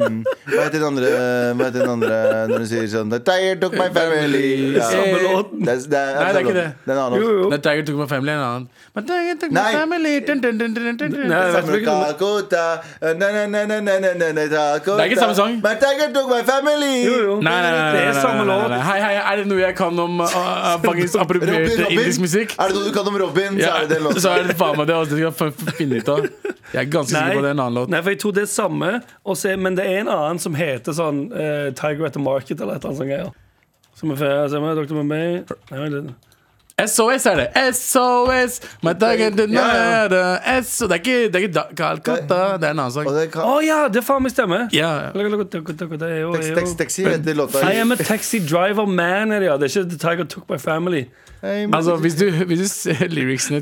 S2: Mm. Hva heter den andre Hva heter den andre når hun sier sånn The tiger took my family ja.
S4: Samme
S3: låten.
S2: Det er, det er,
S4: Nei, det er ikke
S2: låten.
S4: det.
S2: Det er en annen
S3: Jo,
S2: låt.
S3: jo.
S4: The Tiger Took My Family er en annen. But Tiger Took My
S2: Nei.
S4: Family dun, dun, dun, dun, dun, dun.
S3: Nei, jeg vet
S2: Samme
S3: ikke om-
S2: Calcutta, Eh, na-na-na-na-na-na-na-na-Calcutta.
S4: Det er ikke samme sang.
S2: My tiger took my family
S3: Jo, jo.
S4: Nei, nei, nei, nei,
S3: Det
S4: nei,
S3: er
S4: nei,
S3: samme
S4: nei,
S3: låt.
S4: nei, nei. Hei, hei, er det noe jeg kan om uh, uh, faktisk
S2: Robin,
S4: appropriert
S2: Robin.
S4: indisk musikk?
S2: Er det noe du kan om Robin, så er det den låten.
S4: så er det faen meg det. Altså, det skal jeg f- f- finne ut av. Jeg er ganske sikker på det er en annen låt.
S3: nei, for jeg tror det er samme, og så er- men det er en annen som heter sånn eh, Tiger at the Market eller et eller annet sånt greier. Som er fair, som er Dr. Mumbai Nei, vent litt.
S4: SOS er det. SOS! My tiger did
S2: Ja, ja.
S4: not have a SO Det er ikke, det er ikke da, Calcutta, det er en annen
S2: Og
S4: sang.
S2: det
S3: Å
S2: kan,
S3: ja, det faen meg stemmer!
S4: Ja, ja.
S3: Look, look, look, look, look, Det er jo,
S2: text,
S3: er
S2: text,
S3: jo.
S2: text, heter låta
S3: I am a taxi driver man, er det ja. Det er ikke The Tiger Took My Family.
S4: Altså, hvis du, hvis du ser lyricsene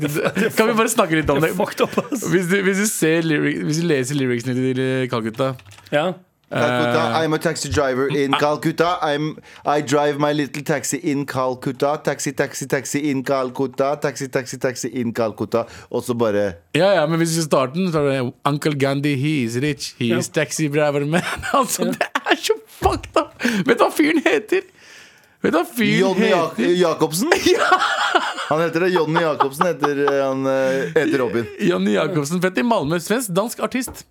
S2: [laughs]
S4: til Kan vi bare snakke litt om
S3: Det
S4: det?
S3: er fucked up, ass.
S4: Hvis du, hvis du, ser lyri- hvis du leser lyricsene til eh, ah. Calcutta
S3: Ja.
S2: Calcutta, I'm a taxi driver in Calcutta. I'm, I drive my little taxi in Calcutta. Taxi, taxi, taxi in Calcutta. Taxi, taxi, taxi in Calcutta. Og så bare
S4: Ja, ja, men hvis vi starter den, så er det Uncle Gandhi, he is rich, he is taxi driver man. [laughs] Altså, det er så fucked up! Vet du hva fyren heter? Vet du hva fyren
S2: Jonny Jak
S4: heter? [laughs]
S2: Jacobsen? Han heter det. Jonny Jacobsen heter, eh, han, eh, heter Robin.
S4: Jonny Jacobsen, født i Malmö, svensk dansk artist.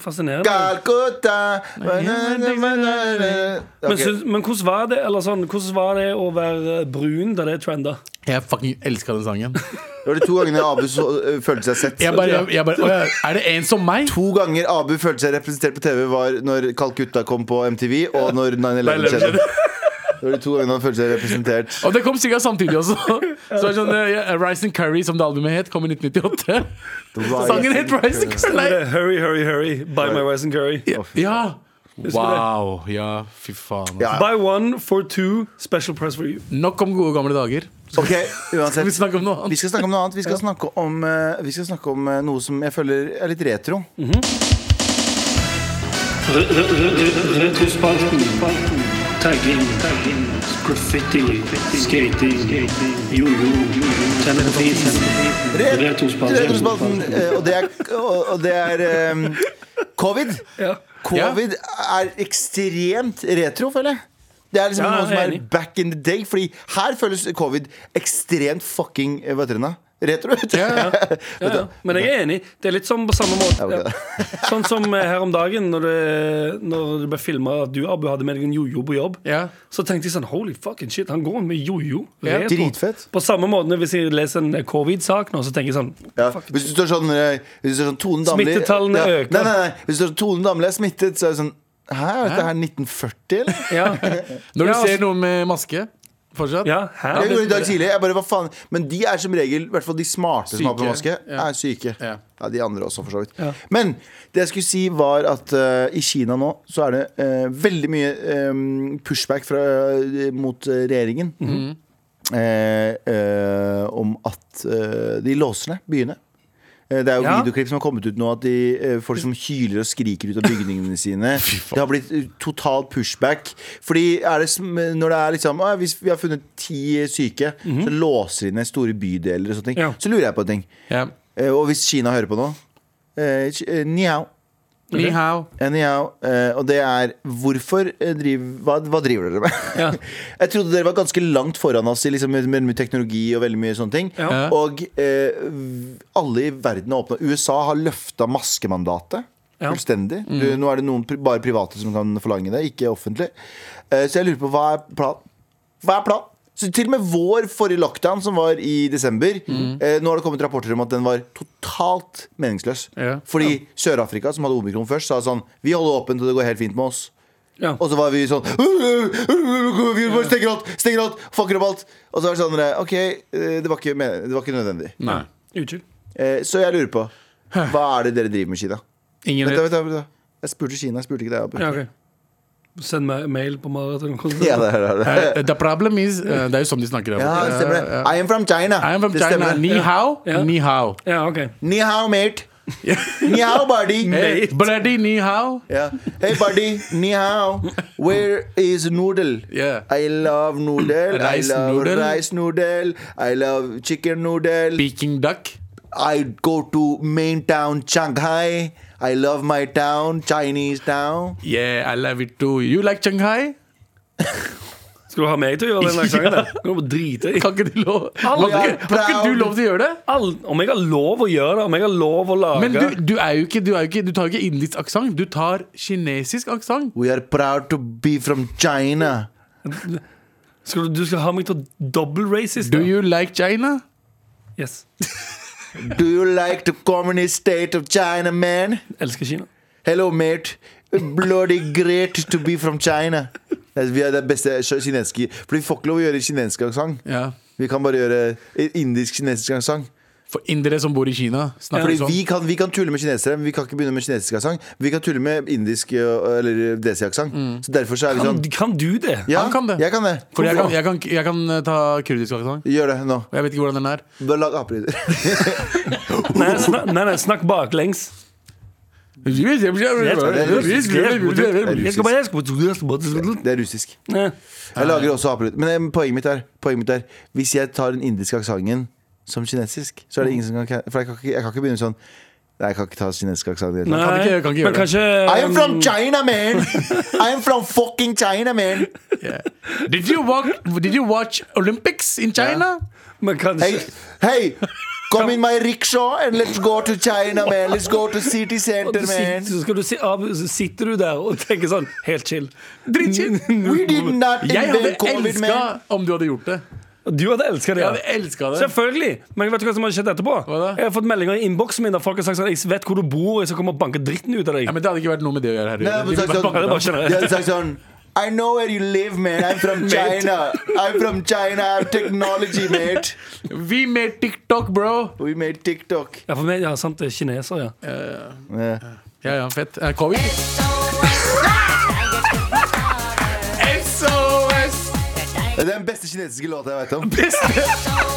S3: Fascinerende.
S2: Calcutta
S3: Men,
S2: Ok.
S3: syns- men hvordan var det Eller sånn, hvordan var det å være eh, brun da det trenda?
S4: Jeg fucking elska den sangen.
S2: Det var de to gangene Abu så, eh, følte seg sett.
S4: Jeg bare, jeg, jeg bare, å, ja, er det en som meg?
S2: To ganger Abu følte seg representert på TV, var når Calcutta kom på MTV, og når 9-11
S4: 9/11
S2: skjedde. Det var de to gangene han følte seg representert.
S4: Og det kom sikkert samtidig også. Så det er sånn, eh, ja, Rice and Curry, som det albumet het, kom i 1998. [laughs]
S2: Ah,
S4: Sangen het Rice and Curry. Nei.
S3: Hurry, hurry, hurry. Buy my rice and curry.
S4: Ja! Wow. Ja, fy faen.
S2: Ja.
S3: Buy one for two. Special price for you.
S4: Nok om gode gamle dager.
S2: Ok,
S4: Skal vi
S2: uansett.
S4: snakke om noe
S2: Vi
S4: annet?
S2: skal snakke om noe annet. Vi skal snakke om, eh, vi skal snakke om eh, noe som jeg føler er litt retro.
S8: Retrospalten. Tagging. Graffiti. Skating. Jojo. Tennis.
S2: Retrospalten,
S8: Retrospalten.
S2: eh, og det er, og og det er eh, covid. Covid er ekstremt retro, føler jeg. Det er liksom
S3: Ja,
S2: noe som
S3: jeg er
S2: er
S3: enig.
S2: back in the day. Fordi her føles covid ekstremt fucking eh, Hva heter den da? Retro. [laughs] vet du.
S3: Ja, ja. Men jeg er enig. Det er litt sånn på samme måte.
S2: Ja, ok.
S3: Ja. Sånn som eh, her om dagen, når det, når det ble filma at du, Abu, hadde med deg en jojo på jobb.
S4: Ja.
S3: Så tenkte jeg sånn Holy fucking shit, han går med jojo.
S4: Ja.
S3: Retro.
S2: Dritfett.
S3: På samme måte hvis jeg leser en eh, covid-sak nå, så tenker jeg sånn
S2: Ja. Hvis du står sånn, eh, hvis du står sånn Tone Damli
S3: Smittetallene
S2: ja.
S3: øker.
S2: Nei, nei, nei. Hvis du står sånn Tone Damli er smittet, så er det sånn Hæ, er dette her 1940, eller?
S3: Ja,
S4: Når du
S3: Ja, altså-
S4: ser noen med maske fortsatt
S3: ja hæ?
S2: Jeg gjorde det i dag tidlig. Jeg bare, hva faen Men de er som regel, i hvert fall de smarte som har på
S4: Syke,
S2: maske,
S4: ja.
S2: er syke. Ja.
S4: Ja.
S2: De andre også, for så vidt.
S3: Ja.
S2: Men det jeg skulle si, var at eh, i Kina nå så er det eh, veldig mye eh, pushback fra, mot eh, regjeringen. eh, eh, om at eh, de låser ned byene. Eh, Det er jo
S3: Ja.
S2: videoklipp som har kommet ut nå at de, eh, folk som hyler og skriker ut av bygningene sine.
S3: [laughs]
S2: Det har blitt eh, total pushback. Fordi er det, som- når det er liksom «Å, Hvis vi har funnet ti syke, så låser de ned store bydeler og sånne ting.
S3: Mhm. Ja.
S2: Så lurer jeg på en ting.
S4: Ja.
S2: Eh, Og hvis Kina hører på nå eh, Ki- eh, Ni hao.
S4: Ni hao.
S2: Anyhow, eh, og det er Hvorfor eh, driv, hva, hva driver dere med?
S3: Ja.
S2: [laughs] Jeg trodde dere var ganske langt foran oss i liksom, med, med mye teknologi og veldig mye sånne ting.
S3: Ja.
S2: Og eh, v- alle i verden har åpna USA har løfta maskemandatet.
S3: Ja. Mm.
S2: Fullstendig. Du, nå er det noen pri bare private som kan forlange det, ikke offentlig. Eh, så jeg lurer på hva er planen? Hva er planen? Så til og med vår forrige lockdown, som var i desember
S4: Mm.
S2: eh, Nå har det kommet rapporter om at den var totalt meningsløs.
S4: Ja.
S2: Fordi Sør-Afrika, som hadde omikron først, sa sånn Vi holder åpent, og det går helt fint med oss.
S3: Ja.
S2: Og så var vi sånn øh, Vi bare stenger alt, stenger alt, fucker opp alt. Og så var det sånn eh, OK, eh, det var ikke, men- det var ikke nødvendig.
S4: Nei.
S3: Unnskyld.
S2: Eh, Så jeg lurer på Hva er det dere driver med i Kina?
S4: Ingen
S2: Vent, da, vent,
S4: vet.
S2: da, vent, da. Jeg spurte Kina, jeg spurte ikke deg. Abu.
S3: Ja, ok. Send meg mail på maraton.
S2: Ja, det er det.
S4: Eh, The problem is eh, Det er jo sånn de snakker.
S2: Ja,
S4: der borte.
S2: det stemmer det. I am from China.
S4: I am from
S2: det
S4: China.
S2: stemmer.
S4: Ni hao.
S3: Ja.
S4: Ni hao.
S3: Ja, ok.
S2: Ni hao, mate. Ni hao,
S4: [laughs]
S2: buddy.
S4: Hey, Eh, bloody ni hao.
S2: Ja. Hey, buddy. Ni hao. Where is noodle?
S4: Yeah.
S2: I love noodle.
S4: Rice
S2: I love
S4: noodle.
S2: rice noodle. I love chicken noodle.
S4: Peking duck.
S2: I go to main town, Shanghai. I love my town, Chinese town.
S4: Yeah, I love it too. You like Shanghai?
S3: Skal du ha meg til å
S2: [laughs]
S3: gjøre den aksenten? der? Kan du bare drite i
S4: Kan ikke de lov Har
S2: Alle er
S4: ikke, har ikke du
S2: proud.
S4: lov til å gjøre det?
S3: all, Om jeg har lov å gjøre det, om jeg har lov å lage
S4: Men du, du er jo ikke Du, er jo ikke, du tar jo ikke indisk aksent. Du tar kinesisk aksent.
S2: We are proud to be from China.
S3: Skal du, du skal ha meg til å double racist?
S4: Do
S3: da?
S4: you like China?
S3: Yes. [laughs]
S2: Do you like the communist state of China, man?
S3: Elsker Kina.
S2: Hello, mate. Bloody great to be from China. Vi er det beste kinesiske For vi får ikke lov å gjøre kinesisk aksent.
S4: Ja.
S2: Vi kan bare gjøre indisk-kinesisk aksent.
S4: For indere som bor i Kina, snakker
S2: Fordi
S4: de sånn.
S2: vi kan, vi kan tulle med kinesere, men vi kan ikke begynne med kinesisk aksent. Vi kan tulle med indisk øh, eller desi-aksent. Så derfor så er vi
S3: Kan,
S2: sånn
S3: kan du det? [laughs]
S2: ja,
S4: Mm. han kan det.
S2: Jeg kan det.
S4: For jeg kan, jeg kan, jeg kan eh, ta kurdisk aksent.
S2: Gjør det nå.
S4: Og jeg vet ikke hvordan den er. [laughs]
S2: Bare lag apelyder.
S3: Nei, snak, nei, nei, snakk baklengs. Jeg skal bare- jeg skal bare-
S2: Det er russisk.
S3: Ja.
S2: Jeg lager også apelyd. Men eh, poenget mitt, er, poenget mitt er Hvis jeg tar den indiske aksenten som kinesisk, så
S4: Mm.
S2: er det ingen som kan For jeg kan ikke, jeg kan ikke begynne sånn Nei, jeg kan ikke ta kinesisk aksent.
S3: Nei,
S4: Kan ikke- kan ikke
S3: men
S4: gjøre det.
S3: kanskje
S2: I am from China, man! I am from fucking China, man!
S4: Did you, walk, did you watch Olympics in China?
S3: Men
S2: Hey,
S3: kanskje
S2: hey, come in my rickshaw and let's go to China, man! Let's go to city
S3: Og
S2: center,
S3: du sit-
S2: man!
S3: så skal du si, ah, så sitter du der og tenker sånn Helt chill. [laughs]
S4: Drittskitt!
S2: We did not
S4: Jeg hadde
S2: invent covid,
S4: elska
S2: man!
S4: om du hadde gjort det.
S3: Du hadde elska det.
S4: Jeg
S3: ja.
S4: hadde elska det.
S3: Selvfølgelig. Men vet du hva som har skjedd etterpå?
S4: Hva da?
S3: Jeg har fått meldinger i innboksen min der folk har sagt sånn Jeg vet hvor du bor, og jeg skal komme og banke dritten ut av deg.
S4: Ja, men det hadde ikke vært noe med det å gjøre. her
S2: Nei, men
S4: Det [laughs]
S2: takk
S4: ville
S2: sånn-
S4: bare-
S3: det var generelt.
S2: De hadde sagt sånn I know where you live, man. I'm from China. I'm from China. I have technology, mate.
S4: We made TikTok, bro!
S2: We made TikTok.
S3: Ja, for meg, ja, sant, det er kineser, ja.
S2: Yeah.
S4: Ja, ja, fett. Eh, Covid? SOS!
S2: Det er den beste kinesiske låta jeg vet om.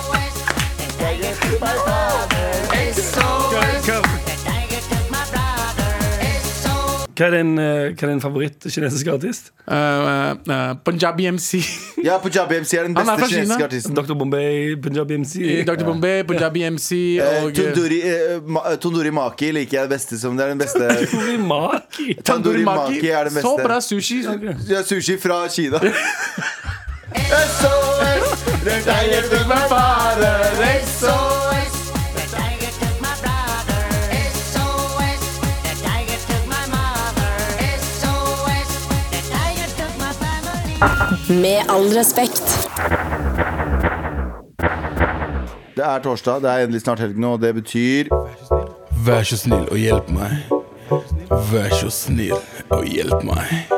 S3: Hva er din, eh, hva er din favoritt-kinesisk artist?
S4: [laughs] Eh, eh, Punjabi [laughs] MC.
S2: Ja, Punjabi MC er den
S4: Han er
S2: beste
S4: fra Kina.
S2: kinesiske artisten.
S3: Dr. Bombay, Punjabi MC
S4: Dr. Bombay, Punjabi MC
S2: Eh,
S4: og
S2: Tunduri, eh, ma- eh, Tunduri Maki liker jeg det beste som Det er den beste
S4: [laughs]
S3: Tori Maki.
S2: Tandori Maki er det
S4: Så
S2: beste.
S4: bra sushi.
S2: Ja, Sushi fra Kina. SOS! Det er jeg som er faren. SOS!
S7: Med all respekt.
S2: Det er torsdag, det er endelig snart helg nå, og det betyr
S9: Vær så snill og hjelp meg. Vær så snill og hjelp meg.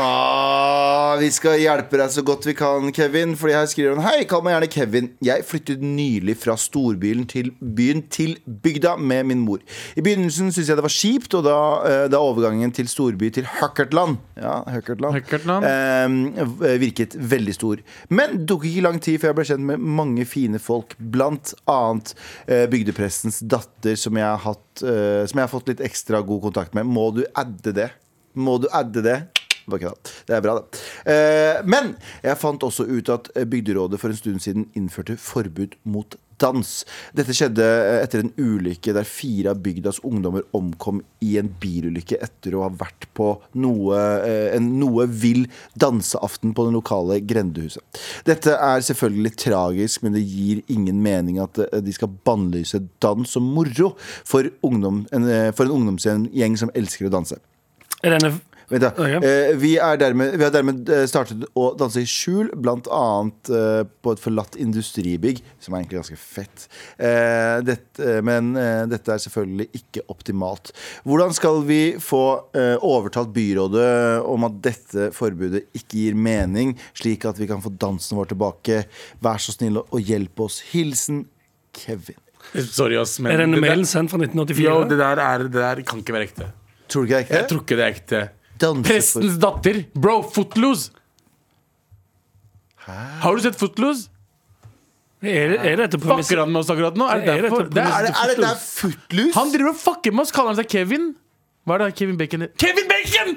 S2: Ah, vi skal hjelpe deg så godt vi kan, Kevin. Fordi her skriver han Hei, kall meg gjerne Kevin. Jeg flyttet nylig fra storbyen til byen til bygda med min mor. I begynnelsen syntes jeg det var kjipt, og da, eh, da overgangen til storby til Høckertland Ja, Høckertland
S4: Høckertland.
S2: eh, v- virket veldig stor. Men det tok ikke lang tid før jeg ble kjent med mange fine folk, blant annet eh, bygdeprestens datter, som jeg, har hatt, eh, som jeg har fått litt ekstra god kontakt med. Må du adde det? Må du adde det? Bare kødda. Det er bra, det. Eh, men jeg fant også ut at Bygderådet for en stund siden innførte forbud mot dans. Dette skjedde eh, etter en ulykke der fire av bygdas ungdommer omkom i en bilulykke etter å ha vært på noe, eh, en noe vill danseaften på det lokale grendehuset. Dette er selvfølgelig litt tragisk, men det gir ingen mening at eh, de skal bannlyse dans som moro for, ungdom, en, eh, for en ungdomsgjeng som elsker å danse.
S3: Er denne
S2: Vent da.
S3: Ok.
S2: Eh, vi, er dermed, vi har dermed eh, startet å danse i skjul, blant annet eh, på et forlatt industribygg, som er egentlig ganske fett. Eh, dette- eh, men eh, dette er selvfølgelig ikke optimalt. Hvordan skal vi få eh, overtalt byrådet om at dette forbudet ikke gir mening, slik at vi kan få dansen vår tilbake? Vær så snill og hjelp oss. Hilsen Kevin.
S4: Sorry, ass. Men
S3: Er denne
S4: det der-
S3: mailen sendt fra 1984?
S4: Yo, det, der er, det der kan ikke være ekte.
S2: Tror du ikke det
S4: Jeg
S2: er
S4: tror
S2: ekte?
S4: ikke det er ekte.
S2: Dansefor-
S4: Prestens datter. Bro, Footloose! Har du sett Footloose?
S3: er, er dette premisset?
S4: Fucker han med oss akkurat nå? Er
S3: Er
S4: det
S3: dette
S4: derfor?
S3: på-
S4: Det
S2: Er
S4: er,
S2: det, er det der footloose?
S4: han driver og fucker med oss. Kaller han seg Kevin? Hva er det Kevin Bacon Kevin Bacon!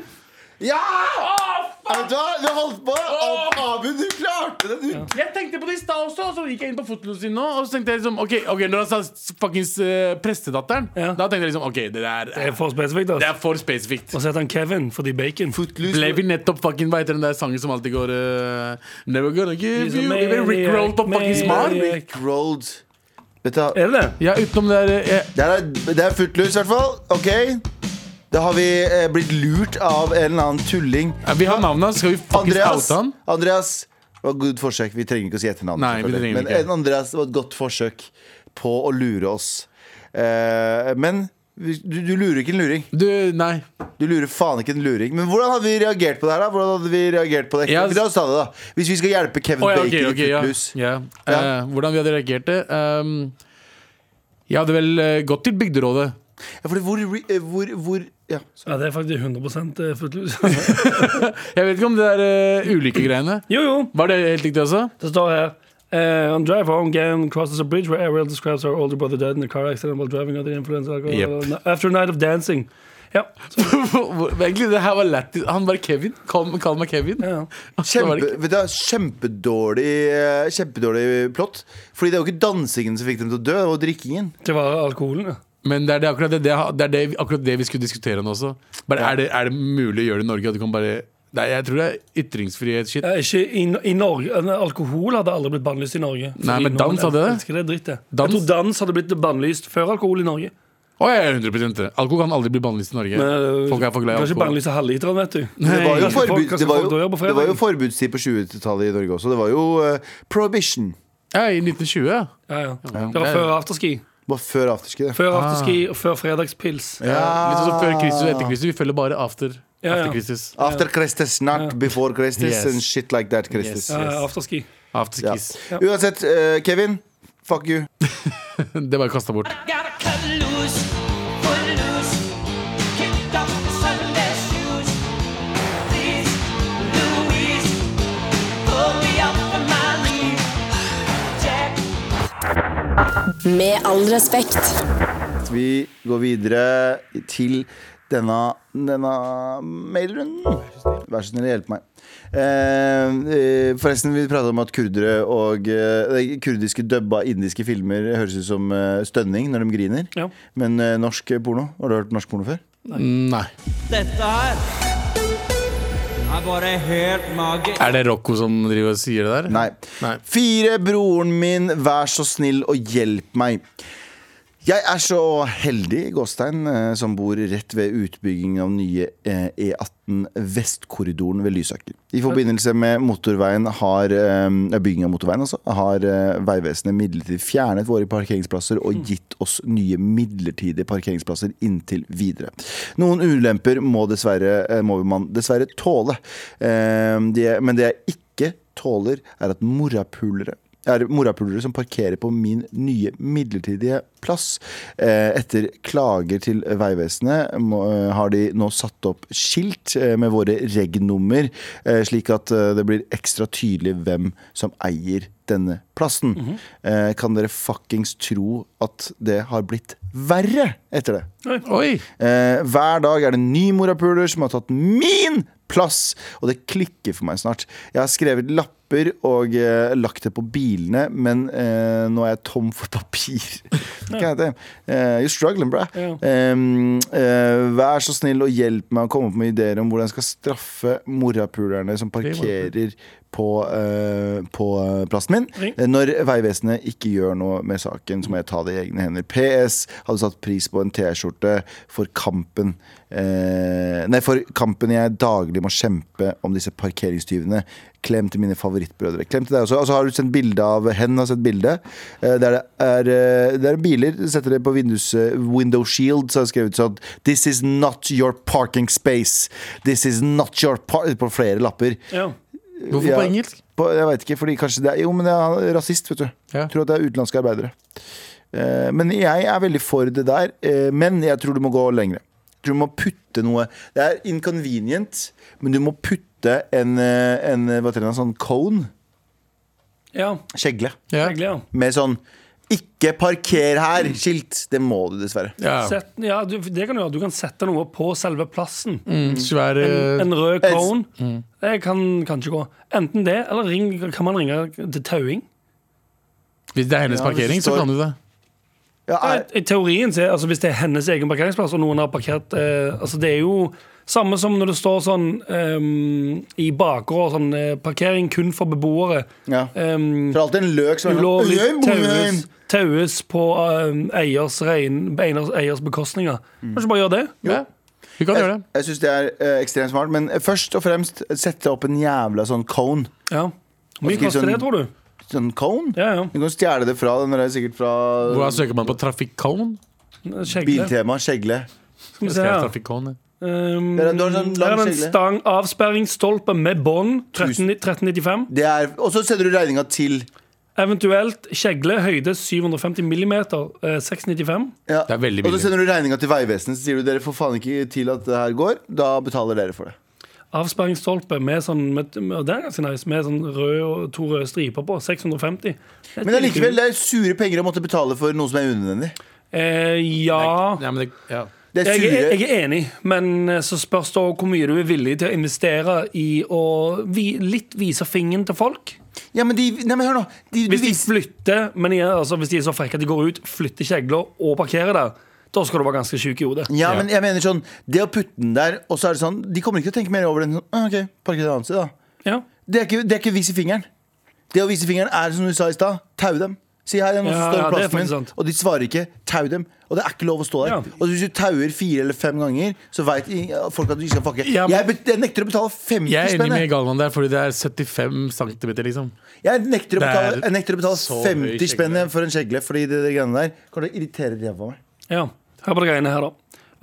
S2: Ja!
S4: Åh,
S2: Ja, Vet du hva? Du holdt på! Ab- Abu, du klarte det! Du.
S4: Jeg tenkte på det i stad også, og så gikk jeg inn på fotoen sin nå. Og så tenkte jeg liksom, ok, ok, Når han sa fuckings eh, prestedatteren,
S3: Ja.
S4: da tenkte jeg liksom OK, det der
S3: Det er for spesifikt.
S4: det
S3: Altså.
S4: er for spesifikt.
S3: Og så heter han Kevin fordi bacon.
S4: Ble vi nettopp fucking Hva heter den der sangen som alltid går eh, Never gonna give you Rick Roll på fuckings Mar?
S2: Rick Road. Vet du, hva?
S3: Er det det?
S4: Ja, utenom det der eh,
S2: det, er, det er footloose, i hvert fall. Ok? Da har vi eh, blitt lurt av en eller annen tulling.
S4: eh, Vi har navnet hans. Skal vi fuckings
S2: Andreas!
S4: oute han?
S2: Andreas det var et godt forsøk. Vi trenger ikke å si etternavn.
S4: Nei, vi
S2: selvfølgelig.
S4: trenger
S2: Men
S4: ikke.
S2: en Andreas det var et godt forsøk på å lure oss. Eh, men vi- du, du lurer ikke en luring.
S4: Du, nei.
S2: Du lurer faen ikke en luring. Men hvordan hadde vi reagert på det her, da? Hvordan hadde vi reagert på det?
S4: Ja,
S2: Vi tar oss av det, da. Hvis vi skal hjelpe Kevin
S4: Å, ja,
S2: Bacon
S4: ok, ok,
S2: i
S4: ja.
S2: Footloose.
S4: Ja.
S2: Ja.
S4: Eh, hvordan vi hadde reagert det? Ehm, jeg hadde vel eh, gått til Bygderådet.
S2: Ja, fordi hvor, re- eh, hvor, hvor ja. så-
S3: Ja, det er faktisk 100 footloose. [laughs]
S4: Jeg vet ikke om det der eh, ulykkegreiene
S3: jo, jo.
S4: Var det helt riktig også?
S3: Det står her Uh, on drive home, Gan crosses a bridge where Ariel describes her older brother dead in a car accident while driving under the influence of alcohol. After a night of dancing. Ja.
S4: [laughs] Egentlig, det her var lættis. Han var Kevin. Kall, kall meg Kevin.
S3: ja.
S4: Og så var
S2: Kjempe,
S4: det
S2: vet du, hva, kjempedårlig eh, Kjempedårlig plott. Fordi det er jo ikke dansingen som fikk dem til å dø, det var drikkingen.
S3: Det var alkoholen, ja.
S4: Men det er det, akkurat, det, det, er- det, er det, vi- akkurat det vi skulle diskutere nå også. Bare, er, det, er det mulig å gjøre det i Norge? At du kan bare Nei, jeg tror det er ytringsfrihet-shit.
S3: Ja, Ikke i, i Norge. Alkohol hadde aldri blitt bannlyst i Norge.
S4: Nei,
S3: Fordi
S4: men dans
S3: nordmenn
S4: hadde det.
S3: elsker det drittet.
S4: Dans?
S3: Jeg tror dans hadde blitt bannlyst før alkohol i Norge.
S4: Å, jeg er 100 det. Alkohol kan aldri bli bannlyst i Norge.
S3: Men, øh,
S4: Folk er for glad i
S3: kan ikke
S4: alkohol.
S3: bannlyse halvliteren, vet du.
S2: Det var jo,
S3: Kanskje folk-
S2: forbud,
S3: kanskje
S2: det var
S3: folk
S2: jo,
S3: dør på
S2: det var jo
S3: fredagen.
S2: forbudstid på 20-tallet i Norge også. Det var jo eh, prohibition.
S4: Ja, I 1920. ja.
S3: ja, ja. Det var før afterski.
S2: Bare før afterski. det.
S3: Før afterski og før fredagspils.
S4: Litt sånn som før Kristus og etter Kristus. Vi følger bare after,
S3: Ja, ja.
S4: after Kristus.
S2: After Christus, not before Christus,
S4: Yes.
S2: and shit like that. Christus
S3: Ja, ja, Eh, afterski.
S4: After
S2: Ja.
S4: kiss. [laughs]
S2: Uansett, eh, Kevin, fuck you.
S4: Det bare kasta bort.
S6: Gotta cut loose, foot loose, kicked off the Sunday shoes. Please, Louise, pull me up from my knees. Jack.
S7: Med all respekt.
S2: Vi går videre til denne, denne mailrunden. Vær så snill, hjelp meg. Eh, eh, forresten, vi pratet om at kurdere og eh, kurdiske dubba indiske filmer høres ut som eh, stønning når de griner.
S3: Ja.
S2: Men eh, norsk porno? Har du hørt norsk porno før?
S4: Nei.
S6: Dette her er bare helt magisk.
S4: Er det Rocco som driver og sier det der?
S2: Nei.
S4: Nei.
S2: Fire, broren min, vær så snill og hjelp meg. Jeg er så heldig, Gåstein, eh, som bor rett ved utbygging av nye eh, E18 Vestkorridoren ved Lysaker. I forbindelse med motorveien har, eh, bygging av motorveien altså, har eh, Vegvesenet midlertidig fjernet våre parkeringsplasser og gitt oss nye midlertidige parkeringsplasser inntil videre. Noen ulemper må, dessverre, eh, må man dessverre tåle, Eh, de- men det er ikke tåler, er at morapulere er morapulere som parkerer på min nye midlertidige plass. Eh, etter klager til Vegvesenet må- eh, har de nå satt opp skilt eh, med våre reg-nummer, eh, slik at eh, det blir ekstra tydelig hvem som eier denne plassen. eh, kan dere fuckings tro at det har blitt verre etter det?
S4: Oi!
S2: Eh, hver dag er det en ny morapuler som har tatt min plass, og det klikker for meg snart. Jeg har skrevet lapper og eh, lagt det på bilene, men eh, nå er jeg tom for papir. [laughs] Hva heter det? Eh, you're struggling, bra.
S3: Ja.
S2: Em, eh, vær så snill og hjelp meg å komme opp med ideer om hvordan jeg skal straffe morapulerne som parkerer på, eh, på eh, plassen min.
S3: Ring.
S2: Eh, Når Vegvesenet ikke gjør noe med saken, så må jeg ta det i egne hender. PS hadde satt pris på en T-skjorte for kampen eh, Nei, for kampen jeg daglig må kjempe om disse parkeringstyvene. Klem til mine favorittbrødre. Klem til deg også. Og så har du sett bilde av Hen har sett bilde. Eh, der det er, eh, det er biler. Setter det på vindus, eh, window shield, så har jeg skrevet sånn This is not your parking space. This is not your par På flere lapper.
S3: Ja.
S4: Hvorfor
S2: Ja.
S4: på engelsk?
S2: På, jeg vet ikke, fordi kanskje det er Jo, men det er rasist, vet du.
S4: Ja.
S2: Tror at det er utenlandske arbeidere. Eh, men jeg er veldig for det der. eh, men jeg tror du må gå lengre. Jeg tror du må putte noe Det er inconvenient, men du må putte en, eh, en eh, hva heter det, en sånn cone,
S3: ja.
S2: skjegle,
S4: Ja.
S3: Egentlig, ja.
S2: med sånn 'ikke parker her'-skilt. Det må du dessverre.
S4: ja.
S3: Sett, ja du, det kan du gjøre. Du kan sette noe på selve plassen.
S4: Mm, svær eh, Mm.
S3: En rød
S2: eh,
S3: cone. Det kan kanskje gå. Enten det, eller ring, kan man ringe til tauing.
S4: Hvis det er hennes
S2: Ja, hvis det
S4: parkering, så
S2: står-
S4: kan du det.
S2: Ja,
S3: Ja,
S2: er,
S3: I i teorien, så er- altså Hvis det er hennes egen parkeringsplass, og noen har parkert eh, altså Det er jo samme som når det står sånn ehm, i bakgård sånn, eh, parkering kun for beboere.
S2: ja.
S3: Um,
S2: For alltid en løk som er sånn, «Øy,
S3: ulovlig
S2: boy!»
S3: taues, taues på ehm, eiers, rein, eiers, eiers bekostninger.
S2: Mm.
S3: Kan ikke bare gjøre det?
S4: Ja. Vi kan gjøre
S2: Jeg,
S4: det.
S2: jeg syns det er eh, ekstremt smart, men først og fremst sette opp en jævla sånn cone.
S3: Ja. Hvor mye
S2: skriv
S3: koster det,
S2: sånn-
S3: tror du?
S2: Sånn cone?
S3: Ja, ja.
S2: Du kan stjele det fra den der sikkert fra
S4: Hvordan søker man på trafikkone?
S3: Skjegle.
S2: Biltema, skjegle.
S3: Skal vi se
S4: Skrev
S3: her.
S4: trafikkone.
S3: Um,
S2: Det er en- du har en sånn lang
S3: her er en
S2: skjegle.
S3: stang avsperringsstolpe med bånd. 13 1395.
S2: Det er, og så sender du regninga til
S3: Eventuelt kjegle, høyde 750 millimeter. eh, 695.
S2: ja.
S4: Det er veldig
S2: Og så
S4: billig.
S2: sender du regninga til Vegvesenet, så sier du dere får faen ikke til at det her går. Da betaler dere for det.
S3: Avsperringstolpe med sånn med, med, Det er ganske nice. Med sånn rød og to røde striper på. 650.
S2: Men allikevel, det er sure penger å måtte betale for noe som er unødvendig.
S3: Eh, ja.
S4: Nei, men det, ja.
S2: Det er
S3: Jeg, er-
S2: sure
S3: jeg er enig, men eh, så spørs det også hvor mye du er villig til å investere i å vi, litt vise fingeren til folk.
S2: Ja, men de Nei, men hør nå. De, de
S3: Hvis de
S2: vis-
S3: flytter, men igjen, altså, hvis de er så frekke at de går ut, flytter kjegler og parkerer der, da skal du være ganske sjuk i hodet.
S2: ja, men jeg mener sånn Det å putte den der, og så er det sånn De kommer ikke til å tenke mer over den. Sånn, «Ah, OK, parker et annet sted, da.
S3: Ja.
S2: Det er ikke, det er ikke å vise fingeren. Det å vise fingeren er som du sa i stad. Tau dem. Si hei, nå
S3: Ja,
S2: står det
S3: ja, det er
S2: plassen min.
S3: faktisk sant.
S2: Og de svarer ikke. Tau dem. Og det er ikke lov å stå der.
S3: Ja.
S2: Og hvis du tauer fire eller fem ganger, så veit folk at du ikke skal fucke.
S3: Ja, men-
S2: jeg, bet- jeg nekter å betale 50
S4: Jeg er enig
S2: spenn.
S4: med
S2: jeg.
S4: Galvan der, fordi det er 75 cm, liksom.
S2: Jeg nekter å
S4: Det er
S2: betale, jeg nekter å betale
S4: så høy
S2: 50 spenn
S4: skjegle.
S2: for en skjegle, fordi det, det greiene der kommer til å irritere ræva av meg.
S3: ja. Hør på det greiene her, da.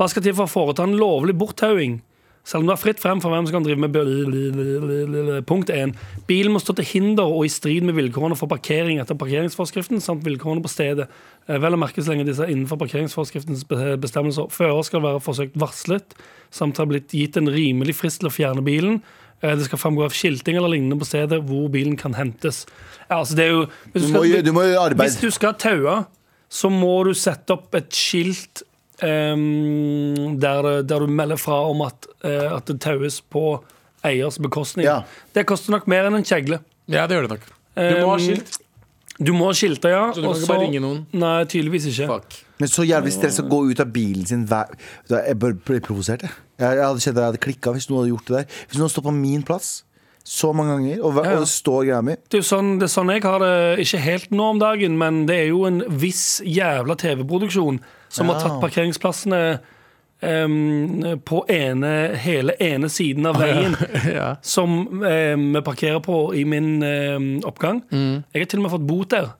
S3: Hva skal til for å foreta en lovlig borttauing? Selv om det er fritt frem for hvem som kan drive med bø- Punkt 1. Bilen må stå til hinder og i strid med vilkårene for parkering etter parkeringsforskriften samt vilkårene på stedet. Eh, Vel å merke så lenge disse er innenfor parkeringsforskriftens be- bestemmelser. Fører skal være forsøkt varslet, samt ha blitt gitt en rimelig frist til å fjerne bilen. Eh, Det skal fremgå av skilting eller lignende på stedet hvor bilen kan hentes. Ja, altså det er jo, hvis
S2: Du må gjøre- du må gjøre arbeid.
S3: Hvis du skal taue, så må du sette opp et skilt ehm, der, det- der du melder fra om at, eh, at det taues på eiers bekostning.
S2: Ja.
S3: Det koster nok mer enn en kjegle.
S4: Ja, det gjør det nok. Du må ha
S3: Um,
S4: skilt.
S3: Du må skilte, ja.
S4: Så du kan
S3: og
S4: ikke bare ringe noen?
S3: Nei, tydeligvis ikke.
S4: Fuck.
S2: Men så jævlig stress å gå ut av bilen sin hver Da, Jeg bare ble provosert, jeg. Jeg, jeg hadde kjent at jeg hadde klikka hvis noen hadde gjort det der. Hvis noen hadde stått på min plass så mange ganger, og, hver-
S3: Ja, ja.
S2: og det står greia mi
S3: Det er jo sånn, det er sånn jeg har det ikke helt nå om dagen, men det er jo en viss jævla TV-produksjon som har
S2: Ja.
S3: tatt parkeringsplassene em, på ene, hele ene siden av veien
S2: [laughs]
S4: Ja.
S3: som em, vi parkerer på i min em, oppgang.
S2: Mm.
S3: Jeg har til og med fått bot der.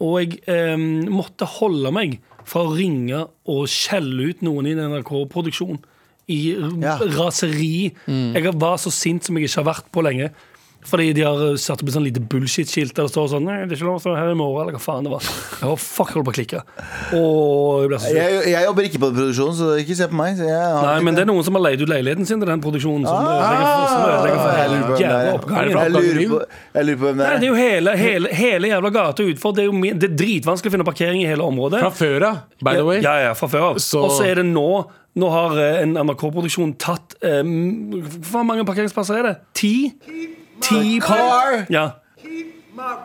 S3: Og jeg em, måtte holde meg fra å ringe og skjelle ut noen i en NRK-produksjon. I r-
S2: Ja. Mm.
S3: raseri. Jeg var så sint som jeg ikke har vært på lenge. Fordi de har eh, satt opp et sånn lite bullshit-skilt der det står sånn Nei, det er ikke lov å stå her i morgen, eller hva faen det var. Jeg var fuck, jeg holdt på å klikke. Og jeg ble så sur.
S2: jeg, jeg jobber ikke på produksjonen, så ikke se på meg. Så jeg har
S3: Nei,
S2: ikke
S3: men det er noen som har leid ut leiligheten sin til den produksjonen. Som ødelegger- som ødelegger
S2: Ah, jeg lurer på
S3: for hele
S2: hvem
S3: jævla
S2: det
S3: oppgangen.
S2: er. Jeg lurer på, jeg lurer på hvem det
S3: Nei, det
S2: er.
S3: er jo hele, hele, hele jævla gata utfor. Det er jo min, det er dritvanskelig å finne parkering i hele området.
S4: Fra før av, by the way.
S3: Ja, ja, fra før av.
S4: Så-
S3: Og så er det nå Nå har eh, en NRK-produksjon tatt eh, m- Hvor mange parkeringsplasser er det? Ti? Ti par...
S2: Car!
S3: Ja.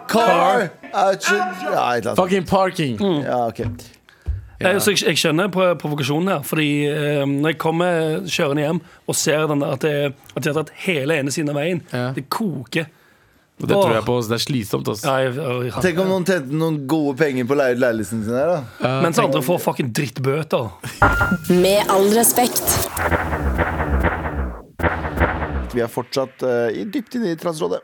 S2: Car! Out your- Ja, et eller annet.
S4: Fucking parking.
S3: Mm.
S2: Ja, ok.
S3: Eh, Så jeg, jeg skjønner pro- provokasjonen her. Fordi eh, når jeg kommer kjørende hjem og ser den der, at, det, at de har tatt hele ene siden av veien,
S4: Ja.
S3: det koker.
S4: Og Det tror jeg på. så Det er slitsomt, ass.
S3: Ja, jeg, jeg, jeg,
S2: Tenk om noen tjente noen gode penger på å leie ut leiligheten sin her, da.
S3: mens andre får fucking drittbøter.
S7: Med all respekt.
S2: Vi er fortsatt eh, i dypt inne i Transrådet.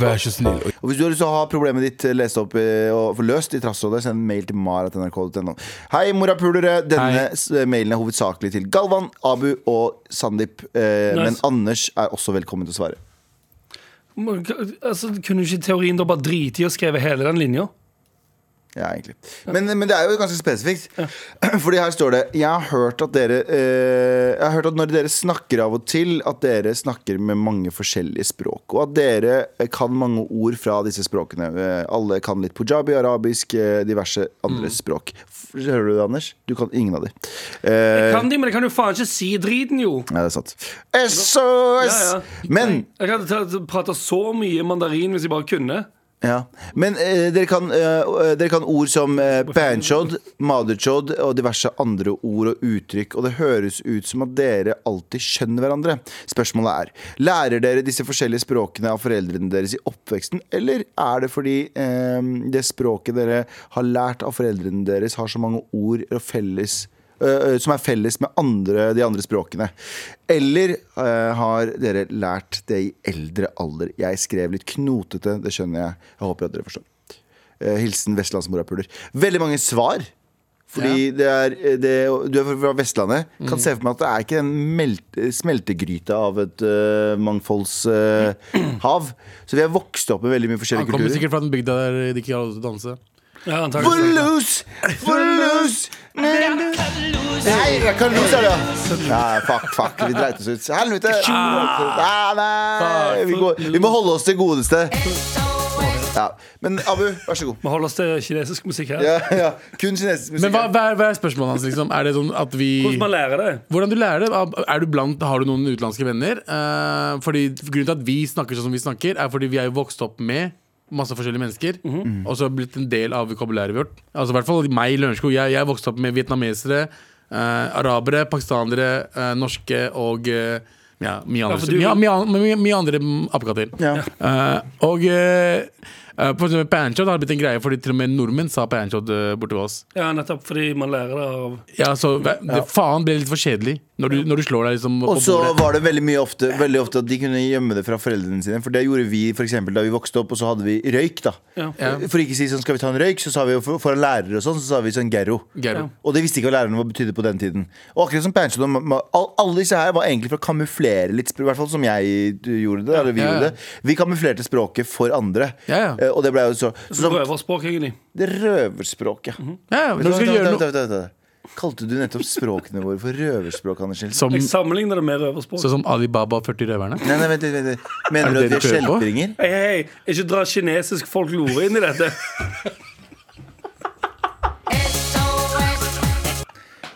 S9: Vær så snill og
S2: Og hvis du har lyst til å ha problemet ditt eh, lest opp eh, og få løst i Trassrådet, send mail til mar.nrk.no. Hei, morapulere. Denne
S4: Hei.
S2: s- eh, mailen er hovedsakelig til Galvan, Abu og Sandeep. eh, Men
S3: Nice.
S2: Anders er også velkommen til å svare.
S3: Men, Altså, kunne ikke teorien da bare drite i å skrive hele den linja?
S2: Ja, egentlig. Men, men det er jo ganske spesifikt. [clears throat] Fordi her står det Jeg har hørt at dere eh, Jeg har hørt at når dere snakker av og til, at dere snakker med mange forskjellige språk. Og at dere eh, kan mange ord fra disse språkene. Eh, alle kan litt pujabi, arabisk, eh, diverse andre språk. F- Hører du det, Anders? Du kan ingen av de. Eh,
S3: Kan de, men jeg kan jo faen ikke si driten, jo.
S2: Ja, det er sant. SOS!
S3: Ja, ja.
S2: Men
S3: Jeg hadde tatt- pratet så mye mandarin hvis jeg bare kunne.
S2: Ja. Men eh, dere, kan, eh, eh, dere kan ord som eh, banchod, maderchod og diverse andre ord og uttrykk, og det høres ut som at dere alltid skjønner hverandre. Spørsmålet er lærer dere disse forskjellige språkene av foreldrene deres i oppveksten, eller er det fordi eh, det språket dere har lært av foreldrene deres, har så mange ord og felles eh, som er felles med andre, de andre språkene. Eller eh, har dere lært det i eldre alder? Jeg skrev litt knotete, det skjønner jeg. Jeg håper at dere forstår. Eh, hilsen vestlandsmorapuler. Veldig mange svar. Fordi det er, eh, det, du er fra Vestlandet. Kan se for meg at det er ikke en melt, smeltegryte av et eh, [clears throat] mangfoldshav. så vi er vokst opp med veldig mye
S4: Han
S2: forskjellige
S4: kommer
S2: kulturer.
S4: sikkert fra den bygda der de ikke har lov til å danse.
S3: Ja, antageligvis.
S2: Footloose! Footloose! Nei, Footloose er det, ja. Nei, fuck, fuck. Vi dreit oss ut. Helvete! Ah, nei, vi, går, vi må holde oss til godeste. Ja. Men Abu, vær så god.
S3: Vi holder oss til kinesisk musikk her.
S2: Ja, ja. Kun kinesisk
S4: Men
S2: musikk.
S4: hva, hva, er, hva er spørsmålet hans, liksom? Er det sånn at vi
S3: Hvordan man lærer det.
S4: Hvordan du lærer det? Er du blant, har du noen utenlandske venner? Eh, fordi Grunnen til at vi snakker sånn som vi snakker, er fordi vi er jo vokst opp med masse forskjellige mennesker. Og så har blitt en del av vokabulæret vårt. Altså i hvert fall meg i Lørenskog. Jeg, jeg er vokst opp med vietnamesere, eh, arabere, pakistanere, eh, norske og eh, ja, mye andre,
S3: for du-
S4: mye, mye, an- mye, mye andre mm, apekatter.
S2: Ja.
S4: Eh, og eh, eh, for eksempel panchot har blitt en greie, fordi til og med nordmenn sa panchot eh, borte ved oss.
S3: Ja, nettopp fordi man lærer det av
S4: Ja, så hva- det, Faen ble litt for kjedelig når du, når du slår deg liksom på
S2: Og så
S4: bordet.
S2: var det veldig mye ofte, veldig ofte at de kunne gjemme det fra foreldrene sine. For det gjorde vi for eksempel, da vi vokste opp, og så hadde vi røyk. da
S3: Ja.
S4: Ja.
S2: For ikke å si sånn, skal vi ta en røyk, så sa vi jo for- foran lærere og sånn, så sa vi sånn gerro.
S4: Gero.
S2: Og det visste ikke hva lærerne hva betydde på den tiden. Og akkurat som Panchot, og ma- ma- all- alle disse her var egentlig for å kamuflere litt, spr- i hvert fall som jeg eh, gjorde det. Eller vi
S4: Ja, ja.
S2: gjorde det Vi kamuflerte språket for andre.
S4: Ja, ja.
S2: Eh, Og det ble jo så, så, så
S3: røverspråk, egentlig.
S2: Det røverspråket.
S4: Ja,
S2: Vent,
S4: Mhm. når du skal
S2: vent,
S4: gjøre
S2: vent,
S4: noe
S2: vent, vent, vent. Kalte du nettopp språkene våre for røverspråk, Anders Nilsen?
S4: som,
S3: Jeg sammenligner det med røverspråk.
S4: Sånn som Alibaba og 40 røverne?
S2: Nei, nei, vent litt. vent litt. Mener
S4: Er
S2: du
S4: det
S2: at vi
S4: det
S2: er
S4: du prøver på?
S2: skjelperinger?
S3: Hei, hei, ikke dra kinesisk folklore inn i dette.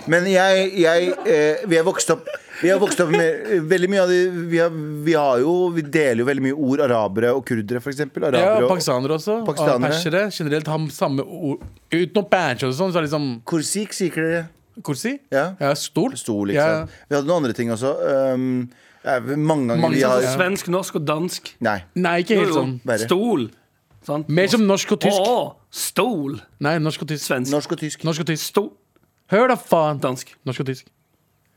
S2: Men jeg, jeg eh, Vi har vokst opp vi har vokst opp med eh, veldig mye av de vi har, vi har jo Vi deler jo veldig mye ord. Arabere og kurdere, for eksempel.
S4: Ja,
S2: Arabere
S4: og
S2: og
S4: pakistanere også. Og
S2: Pakistanere.
S4: persere. Generelt har samme ord. Utenom panchot og sånn, så er det liksom
S2: Korsik, sier dere.
S4: kursi.
S2: Ja.
S4: Ja, stol.
S2: Stol, ikke
S4: Ja.
S2: sant. Vi hadde noen andre ting også. Um, [laughs] ja, mange ganger
S4: Mange
S2: vi
S4: som-
S2: har
S4: Ja.
S3: Svensk, norsk og dansk.
S2: Nei.
S4: Nei, ikke helt
S3: Jo,
S4: sånn.
S3: jo.
S2: Bare.
S3: Stol. Sant?
S4: Mer som norsk og tysk.
S3: Å, stol.
S4: Nei, norsk og tysk.
S3: Svensk.
S2: Norsk og tysk.
S4: Norsk og tysk.
S3: Stol.
S4: Hør da, faen!
S3: Dansk.
S4: Norsk og tysk.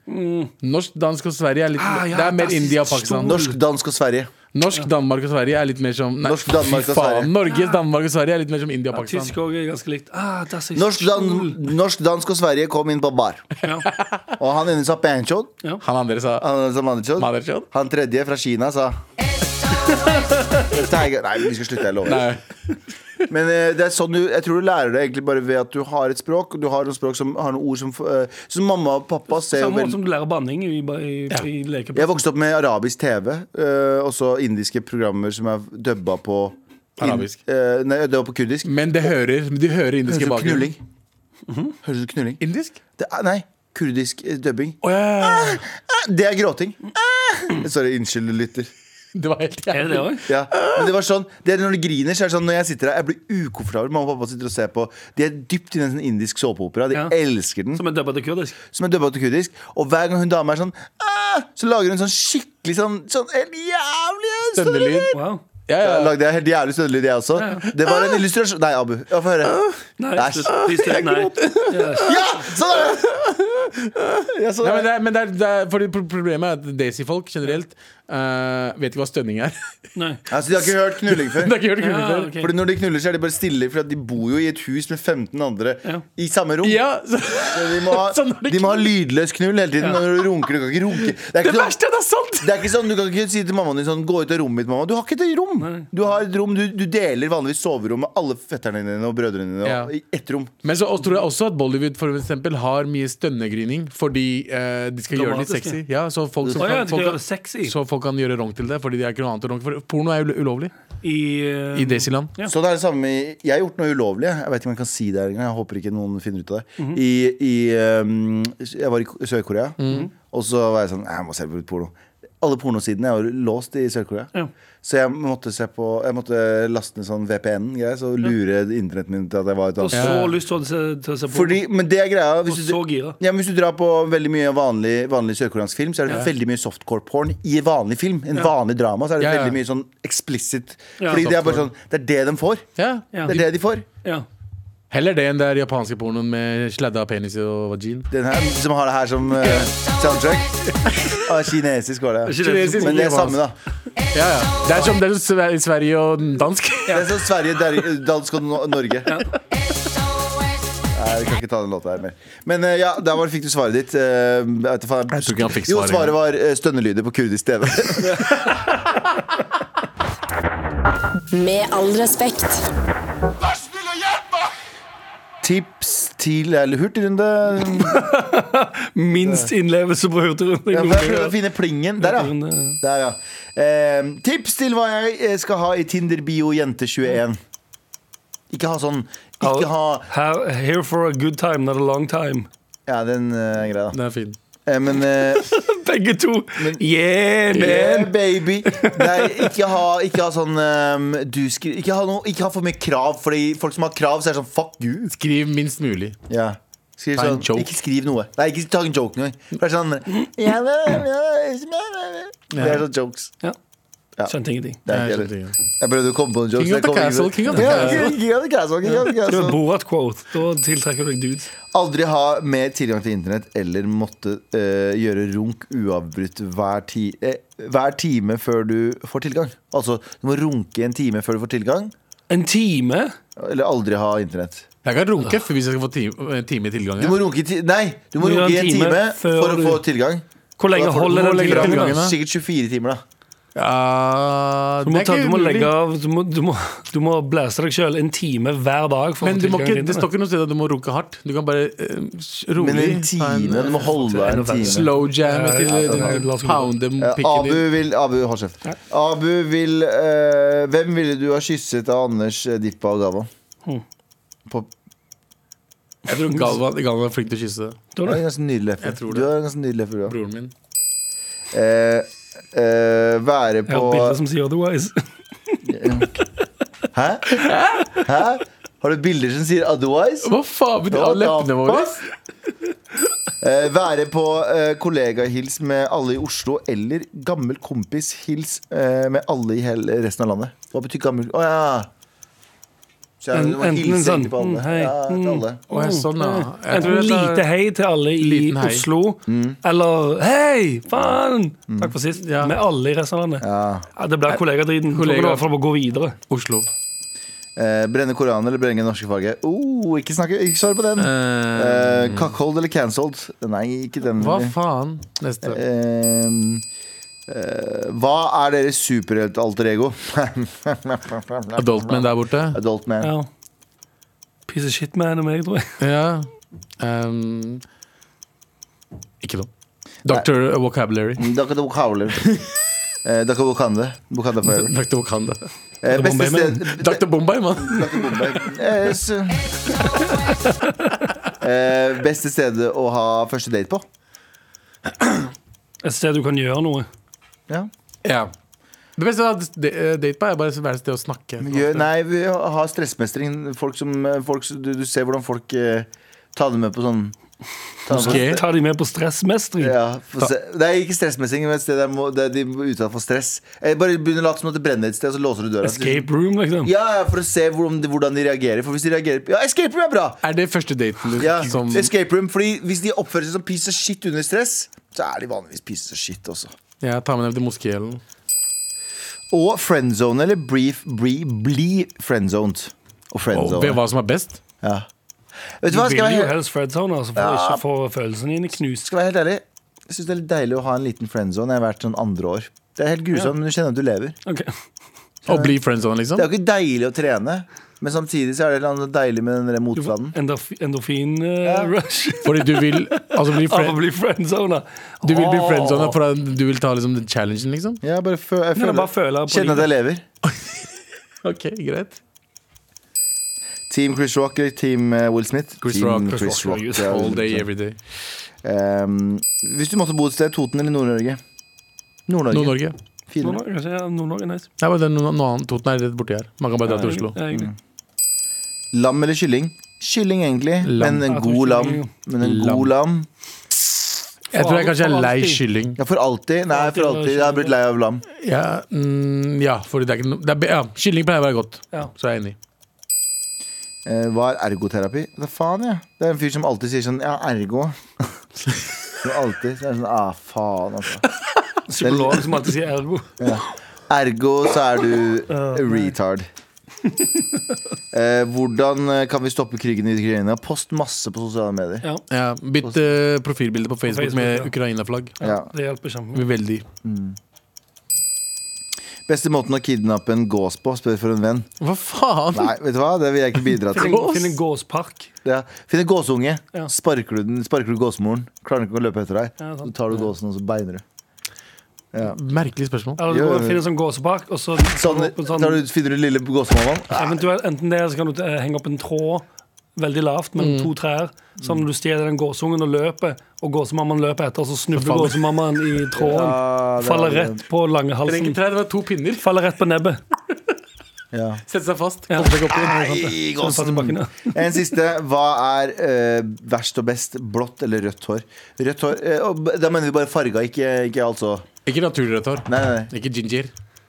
S2: Mm.
S4: Norsk, dansk og Sverige er litt
S3: Ah, ja,
S4: Det er mer
S3: dansk-
S4: India og Pakistan.
S2: Norsk, dansk og Sverige.
S4: Norsk, Danmark og Sverige er litt mer som nei,
S2: Norsk, Danmark
S4: fy
S2: og Sverige. Ah.
S4: faen, Norge, Danmark og Sverige er litt mer som India og Pakistan.
S3: Tysk òg er ganske likt. Ah, das ist
S2: Norsk, dan
S3: stol.
S2: norsk, dansk og Sverige kom inn på bar.
S3: Ja.
S2: [laughs] Og han ene sa panchod.
S4: Han andre sa
S2: Han, som andre sa-
S4: Maderchod?
S2: han tredje fra Kina sa Tiger. Nei, vi skal slutte, jeg lover.
S4: Nei.
S2: Men eh, det er sånn du, jeg tror du lærer det egentlig bare ved at du har et språk. Og du har noen språk som har noen ord som eh, Så mamma og pappa ser jo
S3: Samme måte
S2: veldig
S3: som du lærer banning i, i, i lekeplass.
S2: Jeg vokste opp med arabisk TV, eh, og så indiske programmer som er dubba på in-
S4: Arabisk.
S2: eh, nei, dubba på kurdisk.
S4: Men det hører, de hører
S2: Høres
S4: indisk i
S2: ut som
S4: bakgrunnen.
S2: knulling. Høres ut som knulling.
S4: Indisk?
S2: Det er, nei, kurdisk eh, dubbing.
S4: Å ja!
S2: Det er gråting. Sorry, unnskyld, lytter.
S4: Det var helt
S3: Er det det òg?
S2: Ja. Men det var sånn, det er når du griner, så er det sånn når jeg sitter her, jeg blir ukomfortabel. Mamma og pappa sitter og ser på. De er dypt inne i en sånn indisk såpeopera. De
S3: Ja.
S2: elsker den.
S3: Som er dubba til kurdisk.
S2: som er dubba til kurdisk. Og hver gang hun dama er sånn «Ah!», Så lager hun sånn skikkelig sånn, sånn helt jævlig sånn
S4: Stønnelyd.
S3: Wow.
S4: Ja,
S2: Jeg
S4: ja.
S2: lagde jeg helt jævlig stønnelyd, jeg også. Det var en illustrasjon Nei, Abu. Ja, Få høre.
S3: Nei,
S2: Nei,
S3: slutt. Please, slutt. Nei. Ja.
S2: Ja! Sånn er det! Ja, sånn
S4: Nei,
S2: er det.
S4: men det er, men det er, det er, fordi pro- Problemet er at Daisy-folk generelt eh, vet ikke hva stønning er. [laughs]
S3: Nei.
S2: Altså, de har ikke hørt knulling
S4: det
S2: før.
S4: er ikke gjort
S3: Ja,
S4: kule
S3: ok.
S2: [laughs] Fordi Når de knuller, så er de bare stille, for de bor jo i et hus med 15 andre
S3: Ja.
S2: i samme rom.
S4: Ja, så,
S2: [laughs] Så De må, ha,
S4: Så når de
S2: Sånn de må ha lydløs knull hele tiden. Når du runker, du kan ikke runke. Det er
S4: det
S2: ikke sånn,
S4: verste er at det er sant!
S2: det er ikke sånn, Du kan ikke si til mammaen din sånn Gå ut av rommet mitt, mamma. Du har ikke et rom. Du har et rom, du, du deler vanligvis soverom med alle fetterne dine og brødrene dine.
S4: Ja.
S2: Og, I ett rom.
S4: Men så også tror jeg også at Bollywood for eksempel, har mye stønnegryning fordi eh, de skal gjøre det litt
S3: Dramatisk,
S4: sexy. Ja, så, folk, så,
S3: Å ja, du skal
S4: kan, folk,
S3: gjøre det
S4: kan,
S3: sexy
S4: så folk kan gjøre rong til det, fordi det er ikke noe annet å ronke for. Porno er jo lo- ulovlig
S3: i, eh,
S4: i Daisy-land.
S3: Ja.
S2: Så det er det samme i- Jeg har gjort noe ulovlig. Jeg vet ikke om jeg kan si det her engang. Jeg håper ikke noen finner ut av det.
S3: Mhm.
S2: I, i um, Jeg var i K- Sør-Korea,
S3: Mhm.
S2: og så var jeg sånn Jeg må se på litt porno. Alle pornosidene er jo låst i Sør-Korea.
S3: Ja.
S2: Så jeg måtte, se på, jeg måtte laste ned sånn VPN-greie, så lure internettet mitt til at jeg var et
S3: eh, Og
S2: annet sted.
S3: så lyst til å se, til å se på.
S2: Fordi, men det er greia hvis
S3: Og
S2: du,
S3: så gira.
S2: ja, men hvis du drar på veldig mye vanlig, vanlig sørkoreansk film, så er det veldig mye softcore-porn i vanlig film. En vanlig drama. Så er det
S4: Ja, ja.
S2: veldig mye sånn explicit.
S3: Ja,
S2: Fordi det er bare
S4: softcore.
S2: sånn Det er det de får.
S4: Ja.
S3: Ja.
S2: Det er det de får.
S3: Ja.
S4: Heller det enn det er japanske pornoen med sladda penis og vagin.
S2: Den her, som har det her som eh, [laughs] soundtrack. Ah, kinesisk var det.
S3: Kinesisk.
S2: Men det er samme, da.
S4: Ja, ja. Det er som det er som Sver- Sverige og dansk.
S2: Det er som Sverige, der- dansk og no- Norge. Nei, vi kan ikke ta den låta her mer. Men eh, ja, der var, fikk du svaret ditt. eh, jeg vet ikke faen.
S4: Jeg tror ikke han fikk
S2: Jo,
S4: svaret
S2: svaret var eh, stønnelyder på kurdisk TV.
S7: Med all respekt.
S9: Vær snill og hjelp meg!
S2: [laughs] tips til Eller hurtigrunde.
S3: Minst innlevelse på
S2: Ja, for jeg prøvde å
S3: hurtigrunde.
S2: finne plingen. Der, ja.
S3: Hurtigrunde.
S2: Der, ja. Eh, tips til hva jeg eh, skal ha i Tinder-bio jente21. Ikke ha sånn Ikke ha
S3: Her- Here for a good time, not a long time.
S2: Ja, den eh, er grei, da.
S4: Det er fint.
S2: Eh, men eh,
S3: Begge to. Yeah,
S2: Yeah,
S3: man!
S2: baby. [laughs] Nei, ikke ha, ikke ha sånn ehm, du skri, ikke, ha noe, ikke ha for mye krav, Fordi folk som har krav, så er det sånn fuck you.
S4: [laughs] Skriv minst mulig.
S2: Ja. Skriv
S4: Ta en
S2: sånn,
S4: joke.
S2: ikke skriv noe. Nei, ikke ta en joke engang. For Det er sånn ja, ja, ja, ja. Det er sånn jokes.
S3: Ja. Skjønte ingenting.
S2: Det er
S4: Jeg
S2: ikke
S4: skjønte
S2: det.
S4: ikke.
S2: Jeg prøvde å komme på en joke.
S4: King
S2: så jeg
S4: of the
S2: kom ikke
S4: castle,
S2: på-
S4: king of the
S2: Ja,
S4: castle.
S2: King of the castle, king of the
S3: Det var
S2: castle.
S3: Borat-quote. Da tiltrekker du deg dudes.
S2: Aldri ha mer tilgang til internett eller måtte eh, gjøre runk uavbrutt hver, ti eh, hver time før du får tilgang. Altså, du må runke en time før du får tilgang,
S3: En time?
S2: eller aldri ha internett.
S4: Jeg kan runke f- hvis jeg skal få time, eh, time i tilgang.
S2: Du
S4: ja.
S2: må runke i ti Nei, du må
S3: Du må
S2: runke i en time for å
S3: du-
S2: få tilgang.
S3: Hvor lenge
S2: Da får du-
S3: holder
S2: hvor
S3: den
S2: lenge da?
S3: tilgangen?
S4: tilgangen, da?
S2: Sikkert 24 timer, da.
S4: Ja,
S3: Du må,
S4: det er
S3: ta,
S4: ikke
S3: du må
S4: umulig.
S3: legge av Du må, du må, du må blæse deg sjøl en time hver dag. For
S4: Men
S3: å
S4: du må
S3: tilgang
S4: ikke,
S3: til
S4: det står
S3: internett.
S4: ikke noe sted at du må runke hardt. Du kan bare eh, s- rolig
S2: Men en
S4: ta en,
S2: time,
S4: eh,
S2: du må holde deg en time.
S4: Slow jam
S3: Ja,
S4: til
S3: ja, ja, ja,
S4: den
S3: la
S4: der
S3: oss gå.
S4: pounden
S2: Eh,
S4: pikken
S2: Abu
S4: din.
S2: vil Abu, hold kjeft. Abu vil eh, Hvem ville du ha kysset av Anders, eh, Dippa og Galvan? På,
S4: Jeg tror Galvan, Galvan er flink til å kysse
S2: du har en ganske nydelig leppe.
S4: Jeg tror
S2: Du
S4: det.
S2: har en ganske nydelig leppe, du også.
S4: broren min.
S2: Eh, eh, være
S3: Jeg har
S2: på
S3: et bilde som sier otherwise.
S2: Hæ? Hæ? Har du bilder som sier otherwise?
S4: Hva faen betyr
S2: Ja,
S4: av leppene våre?
S2: tapas. [laughs] Eh, være på eh, kollegahils med alle i Oslo, eller gammel kompis hils eh, med alle i hele resten av landet. Hva betyr gammel Å ja! Så jeg,
S3: En-
S2: du må
S3: enten
S2: hilse
S3: sånn,
S2: egentlig på
S3: mm,
S2: alle.
S3: hei,
S2: Ja, til
S3: mm.
S2: alle.
S4: Å, jeg, sånn, ja. jeg tror
S3: Enten
S4: jeg tar-
S3: lite hei til alle i
S4: Liten hei.
S3: Oslo,
S2: Mm.
S3: eller hei, faen! Takk for sist.
S4: Ja.
S3: Med alle i resten av landet. Ja, det blir kollegadriten. Kollega.
S4: Kollega.
S3: I hvert fall å gå videre.
S4: Oslo.
S2: Eh, brenne Koranen eller brenne det norske flagget? Oh, ikke, snakke, ikke svar på den!
S4: Eh,
S2: Eh, Kakhold eller cancelled? Nei, ikke den. Eh,
S4: hva
S2: heller.
S4: faen? Neste.
S2: Ehm, eh, hva er deres superhelt-alter ego? [laughs]
S4: Adult men der borte.
S2: Adult man.
S3: Ja. Piece of shit man og meg, tror jeg.
S4: Ja. Ehm, ikke noe. Dr. Vocabulary.
S2: Mm, Dere to howler. Eh, Dere Wakanda. Wakanda forever.
S4: Dr. Wakanda.
S2: Eh, beste
S3: Bombay, men-
S2: sted
S4: [laughs] Dr. Bombay, mann.
S2: Dr. Bombay. Eh, s- Eh, Beste stedet å ha første date på?
S3: Et sted du kan gjøre noe.
S2: Ja.
S4: Ja. Det beste av d- eh, date på er bare å være et sted å snakke.
S2: Gjør, nei, vi har stressmestring. Folk som, eh, folk, som- du, du ser hvordan folk eh, tar det med på sånn tar det med-
S4: Moské.
S3: Ta de med på stressmestring.
S2: Ja, for se, det er ikke stressmessing, men et sted der, må, der de må uttale for stress. Eh, Bare begynn å late som at det brenner et sted, og så låser du døra.
S3: Escape room, liksom.
S2: Ja, ja, for å se hvordan de, hvordan de reagerer. For hvis de reagerer Ja, escape room er bra!
S4: Er det første daten du liksom-
S2: Ja,
S4: som
S2: escape room, fordi Hvis de oppfører seg som piece of shit under stress, så er de vanligvis piece of shit også.
S4: Ja, ta med dem til moskeen.
S2: Og friendzone, eller brief, bri, bli friendzoned. Og
S4: Og
S2: friendzone.
S4: ved hva som er best?
S2: ja. Vet du
S3: Du
S2: hva, skal
S3: vil
S2: jeg
S3: jo
S2: være,
S3: helst friendzone, altså, for å ikke få følelsene dine knust.
S2: skal jeg være helt ærlig? Jeg syns det er litt deilig å ha en liten friendzone. Jeg har vært sånn andre år. Det er helt grusomt, men du kjenner at du lever.
S3: Ok.
S4: Å bli friendzone,
S2: Det
S4: liksom?
S2: er jo ikke deilig å trene, men samtidig så er det et eller annet deilig med den der
S3: Du får
S2: motstanden.
S3: endorf- [laughs] Endorfin-rush
S4: Fordi du vil altså bli [laughs]
S3: av å
S4: friend,
S3: bli friendzona.
S4: Du vil bli
S3: Åh.
S4: friendzone for at du vil ta liksom den challengen, liksom?
S2: Ja, bare fø jeg
S3: Nei,
S2: føler,
S3: bare føler på
S2: Kjenner at jeg lever.
S4: Ok, greit.
S2: Team Chris Rock eller Team eh, Will Smith?
S4: Chris
S2: team
S4: Rock, Chris Rock,
S2: Rock, ja, liksom.
S4: All day, every day.
S2: Ehm, Hvis du måtte bo et sted, Toten eller Nord-Norge? Nord-Norge.
S4: Nord-Norge.
S2: Finere.
S3: Nord-Norge, kanskje. Ja, Nord-Norge er nice.
S4: Nei, men det er noe, noe annet. Toten er rett borti her. Man kan bare dra til Oslo. Mm.
S3: Ja, egentlig.
S2: Lam eller kylling? Kylling, egentlig.
S4: Lam.
S2: Men
S3: Jeg
S2: en
S3: tror
S2: god lam.
S3: kylling,
S2: Men en god lam
S4: Jeg tror jeg kanskje er
S3: For
S4: lei
S3: alltid.
S4: kylling.
S2: Ja, for alltid. Nei, for alltid. Jeg har blitt lei av lam.
S4: Ja, mm, ja fordi det er ikke noe det er, be- ja, Kylling pleier å være godt,
S3: Ja.
S4: så jeg er enig.
S2: Eh, Hva er ergoterapi? Hva faen, ja. Det er en fyr som alltid sier sånn Ja,
S3: [laughs]
S2: ergo. Som alltid. Så er det sånn Ah, faen, altså.
S3: [laughs] Psykolog som alltid sier ergo.
S2: Ergo så er du
S3: [laughs]
S2: retard. Eh, hvordan eh, kan vi stoppe krigen i Ukraina? Post masse på sosiale medier.
S3: Ja,
S4: Ja, Bytt eh, profilbilde på Facebook
S3: Facebook,
S4: med
S3: ja.
S4: Ukraina-flagg.
S2: Ja.
S3: det hjelper kjempemye.
S4: Veldig.
S2: Beste måten å kidnappe en gås på, spør for en venn.
S4: Hva faen?
S2: Nei, vet du hva? Det vil jeg ikke bidra til.
S3: Finn finn en gåspark.
S2: Ja. Finn en gåsunge.
S3: Ja.
S2: Sparker du den, sparker du gåsmoren. Klarer den ikke å løpe etter deg.
S3: Ja,
S2: Så
S3: sant.
S2: tar du gåsen og så beiner du.
S4: Merkelig spørsmål.
S3: Eller du
S2: Jo,
S3: går
S2: jo,
S3: og
S2: jo.
S3: finner en sånn gåsepark, og så
S2: Sånn,
S3: på sånn-
S2: tar du, finner du lille gåsemammaen?
S3: Eventuelt enten det, så kan du eh, henge opp en tråd veldig lavt
S4: Mm.
S3: mellom to trær. Sånn at du stjeler den gåsungen og løper, og gåsemammaen løper etter, og så snubler
S4: Faller.
S3: gåsemammaen i tråden.
S2: Ja, det
S3: faller
S2: er-
S3: rett på langehalsen.
S4: Trenger tre, det var to pinner.
S3: Faller rett på nebbet. Sånn
S2: Ja.
S4: Sette seg fast.
S3: Ja.
S4: Komme seg opp igjen.
S2: Nei,
S3: Så
S2: gåsen.
S3: faller tilbake ned. [laughs]
S2: En siste. Hva er eh, verst og best? Blått eller rødt hår? Rødt hår eh, og b- Da mener vi bare farga, ikke, ikke altså
S4: Ikke naturrødt hår.
S2: Nei, nei, nei.
S4: Ikke ginger.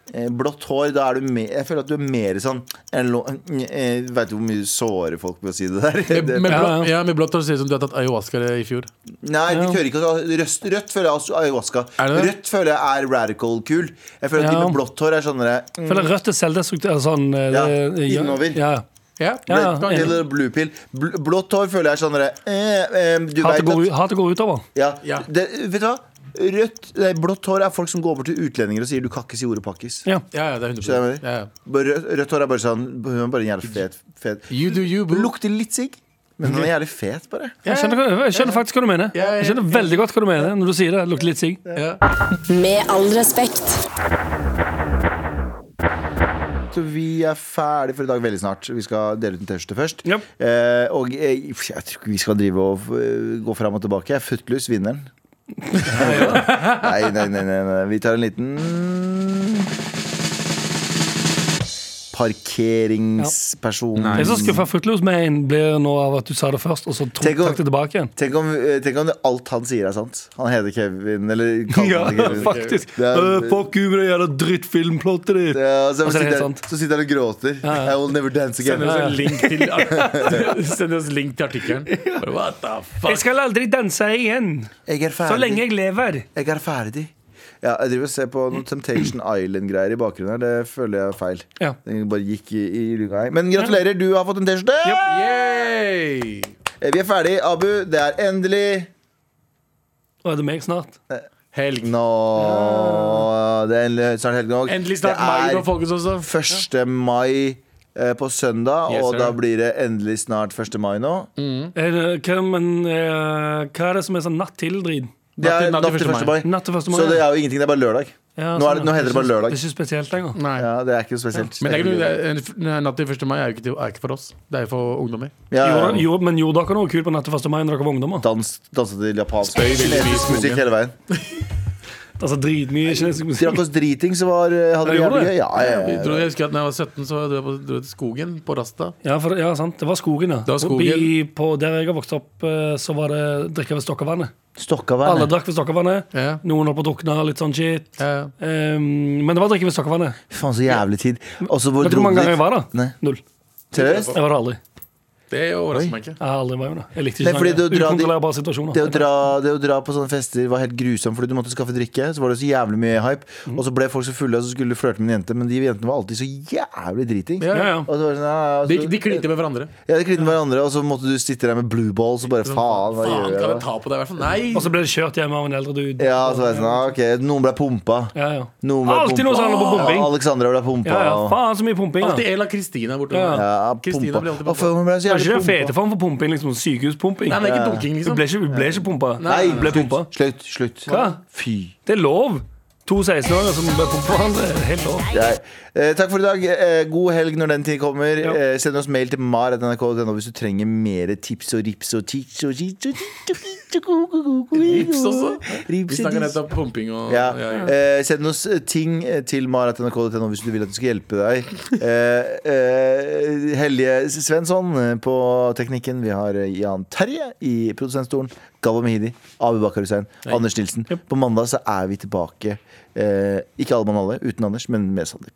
S2: Eh, Blått hår, da er du mer Jeg føler at du er mer sånn Veit du hvor mye såre folk ved å si det der?
S4: Med,
S2: [laughs] Det,
S4: med, blå,
S3: Ja, ja.
S4: ja, med blått hår ser det ut som du har tatt ayahuasca i fjor.
S2: nei, de
S3: Ja.
S2: tør ikke å ta- røst, Rødt føler jeg er ayahuasca.
S4: Er det det?
S2: Rødt føler jeg er radical-kul. Jeg føler at de
S3: Ja.
S2: med blått hår er sånn derre mm,
S3: Føler rødt er selvdestrukt. eller Sånn, eh,
S2: Ja,
S3: det-
S2: innover.
S3: Ja.
S4: Ja,
S3: Ja, ja,
S2: red pill
S3: enig.
S2: eller blue pill. Bl blått hår føler jeg er sånn derre eh, eh, Du
S3: Hat det
S2: vet
S3: går,
S2: at
S3: ut- hat det går utover.
S2: Ja.
S4: Ja.
S2: Det, vet du hva? Rødt, nei, blått hår er folk som går over til utlendinger og sier 'du kan ikke si ordet pakkis'.
S3: Ja.
S4: ja, ja det er
S2: Skjønner
S4: 100
S2: du?
S4: ja, ja.
S2: Bare- Rødt, rødt hår er bare sånn Hun er bare en jævlig fet, fet.
S4: You do you, boo.
S2: Lukter litt sigg, men hun er jævlig fet, bare.
S4: Ja,
S3: Jeg skjønner, hva- jeg skjønner faktisk hva du mener.
S4: Ja, ja, ja.
S3: Jeg skjønner veldig godt hva du mener når du sier det. Det lukter litt sigg.
S4: ja.
S7: Med all respekt.
S2: Så vi er ferdig for i dag veldig snart. Vi skal dele ut en T-skjorte først.
S3: Ja.
S2: Eh, og eh, jeg tror ikke vi skal drive og eh, gå fram og tilbake. Jeg er Footloose,
S3: [laughs]
S2: vinneren. nei, nei, nei, nei, nei. Vi tar en liten Parkeringsperson.
S3: Jeg er så skuffa footloose med en blir nå av at du sa det først, og så tok
S2: Tenk å-
S3: takk det tilbake igjen.
S2: Tenk om, eh, tenk om det, alt han sier, er sant. Han heter Kevin, eller
S3: Ja,
S2: kaller han Kevin.
S3: faktisk.
S2: Det er-
S3: Øh, fuck you med det jævla drittfilmplottet ditt.
S2: Ja, så,
S3: Og så er det
S2: sitter,
S3: helt
S2: han-
S3: sant.
S2: så sitter han og gråter. I will never dance again.
S4: Send oss en link til, [laughs] send oss en link til artikkelen. What the
S3: Jeg
S4: fuck?
S3: skal aldri danse igjen,
S2: Jeg er ferdig.
S3: så lenge jeg lever.
S2: Jeg er ferdig. Ja, jeg driver og ser på noen Temptation Island-greier i bakgrunnen her. Det føler jeg er feil.
S3: Ja.
S2: Den bare gikk i, i luka her. Men gratulerer, du har fått en T-skjorte!
S4: Yay!
S2: Eh, Vi er ferdig, Abu. Det er endelig
S3: Og er det meg snart?
S4: Helg.
S2: Nå Det er endelig snart helg nok.
S4: Ah. Endelig snart mai nå, folkens også.
S2: 1. mai eh, på søndag,
S4: Yes,
S2: og
S4: sir. Mm.
S2: da blir det endelig snart 1. mai nå.
S3: Er det, hva, men, eh, hva er det som er sånn natt til drit?
S2: Det er
S4: Natt
S2: natt
S4: til-
S2: til 1. mai.
S3: Natt til første
S2: Så
S3: morgen?
S2: det er jo ingenting, det er bare lørdag.
S3: Ja,
S2: Nå, er det,
S3: sånn,
S2: nå heter det bare
S3: Det er
S2: lørdag.
S3: ikke spesielt lenger.
S4: Nei.
S2: Ja, Det er ikke noe spesielt.
S4: Men det er ikke, noe- det er- natt til 1. mai er jo ikke, til- er ikke for oss. Det er jo for ungdommer.
S2: Ja, ja, ja.
S3: Gjorde, gjorde, men gjorde dere noe kult på natt til første mai når dere var ungdommer?
S2: dans, danset til japansk
S4: Spøy veldig mye i
S2: kinesisk
S4: skogen.
S2: musikk hele veien.
S3: Altså dritmye kinesisk
S2: Drakk
S3: musikk.
S2: oss driting, så var, eh, hadde vi
S3: Ja, gjorde
S2: jævlig gøy. Ja, ja,
S4: Jeg,
S2: ja.
S4: tror, jeg husker at når jeg var 17, så dro jeg på dro jeg til skogen på Rasta.
S3: Ja, for, ja, sant. Det var skogen, ja.
S4: Det var skogen.
S3: Oppi, på der jeg har vokst opp, eh, så var det drikke ved Stokkavannet. Alle
S2: Stokkavannet.
S3: drakk ved Stokkavannet.
S4: Ja.
S3: Noen holdt på å drukne, litt sånn shit.
S4: Ja.
S3: Ehm, men det var drikke ved Stokkavannet.
S2: Faen, så jævlig tid. Også hvor
S3: Vet du hvor mange
S2: dro vi-
S3: ganger jeg var da?
S2: Nei.
S3: Null.
S2: Seriøst?
S3: Jeg var det aldri.
S4: Det overrasker meg ikke.
S3: Jeg har aldri vært med da. Jeg likte
S2: Nei,
S3: ikke
S2: fordi du
S3: sjanger.
S2: drar dit-
S3: Ukontrollerbare situasjoner.
S2: Det å, dra, det å dra på sånne fester var helt grusomt, fordi du måtte skaffe drikke. Så var det så jævlig mye hype. Og så ble folk så fulle, og så skulle du flørte med en jente, men de jentene var alltid så jævlig driting.
S4: Ja,
S3: ja,
S4: ja.
S3: ja.
S2: Og så var det sånn, ja, ja, og
S4: De,
S2: så-
S4: de klinte med hverandre.
S2: ja, de klinte med hverandre, og så måtte du sitte der med blue balls og bare faen, hva
S4: Faen,
S2: gjør
S4: kan jeg
S2: jeg da?
S4: ta på deg i hvert fall? Nei!
S3: Og så ble det kjørt hjem av en eldre dude.
S2: Ja, så var det sånn, ja, ok, noen ble pumpa.
S3: ja, ja.
S2: Noen ble
S3: Alltid noe sånn som handler om
S2: Ja,
S3: bombing.
S2: Alexandra ble pumpa.
S3: Ja, ja,
S2: og-
S3: faen så mye pumping. da.
S4: Alltid El av Kristina er borte.
S3: Ja.
S2: Ja,
S4: Kristina
S2: pumpa.
S4: blir alltid
S2: Å,
S4: pumpa.
S2: faen, hun ble så jævlig
S3: Det var ikke den
S2: pumpa.
S3: fete form for pumping, liksom sykehuspumping.
S4: Nei, men ikke dunking,
S3: Du ble
S4: liksom.
S3: ikke, du ble ikke pumpa.
S2: Nei,
S3: Du ble pumpa.
S2: Slutt, slutt.
S3: Hva?
S2: Fy.
S3: Det er lov. To 16-åringer som ble pumpa. [laughs] Det er helt lov.
S2: Nei. Eh, takk for i dag. Eh, god helg når den tid kommer.
S3: Ja.
S2: Eh, send oss mail til mar.nrk.no hvis du trenger mer tips og rips og tips og tips og tips og
S4: Rips også. Vi
S2: Rips og
S4: snakker
S2: tips.
S4: nettopp pumping og
S2: Ja.
S4: ja, ja.
S2: Eh, send oss ting eh, til mar.nrk.no hvis du vil at vi skal hjelpe deg. Eh, eh, Helje Svensson eh, på teknikken. Vi har eh, Jan Terje i produsentstolen. Galva Mehidi. Abu Bakar Hussein. Anders Nilsen. På mandag så er vi tilbake. Eh, ikke alle mann alle, uten Anders, men med Sandeep.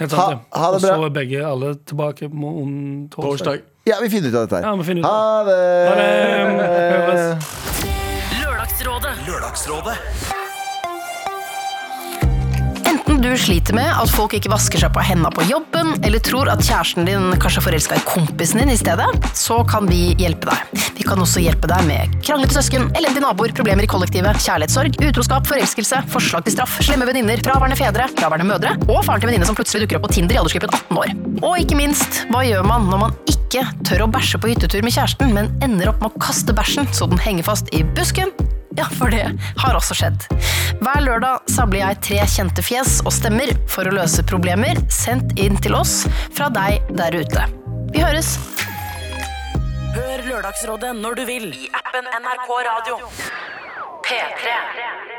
S3: Helt sant, ja.
S2: Ha- ha det
S3: Og så
S2: bra.
S3: er begge alle tilbake på om torsdag.
S4: Torsdag.
S2: Ja, vi finner ut av dette her.
S3: Ja, vi finner ut av
S2: ha det!
S3: Ha det. Høres.
S1: Lørdagsrådet.
S7: Enten du
S10: du sliter med at folk ikke vasker seg på hendene på jobben, eller tror at kjæresten din kanskje forelska i kompisen din i stedet, så kan vi hjelpe deg. Vi kan også hjelpe deg med kranglete søsken, elendige naboer, problemer i kollektivet, kjærlighetssorg, utroskap, forelskelse, forslag til straff, slemme venninner, fraværende fedre, fraværende mødre, og faren til venninne som plutselig dukker opp på Tinder i aldersgruppen 18 år. Og ikke minst, hva gjør man når man ikke tør å bæsje på hyttetur med kjæresten, men ender opp med å kaste bæsjen så den henger fast i busken? Ja, for det har også skjedd. Hver lørdag samler jeg tre kjente fjes og stemmer for å løse problemer sendt inn til oss fra deg der ute. Vi høres!
S6: Hør Lørdagsrådet når du vil i appen NRK Radio. P3.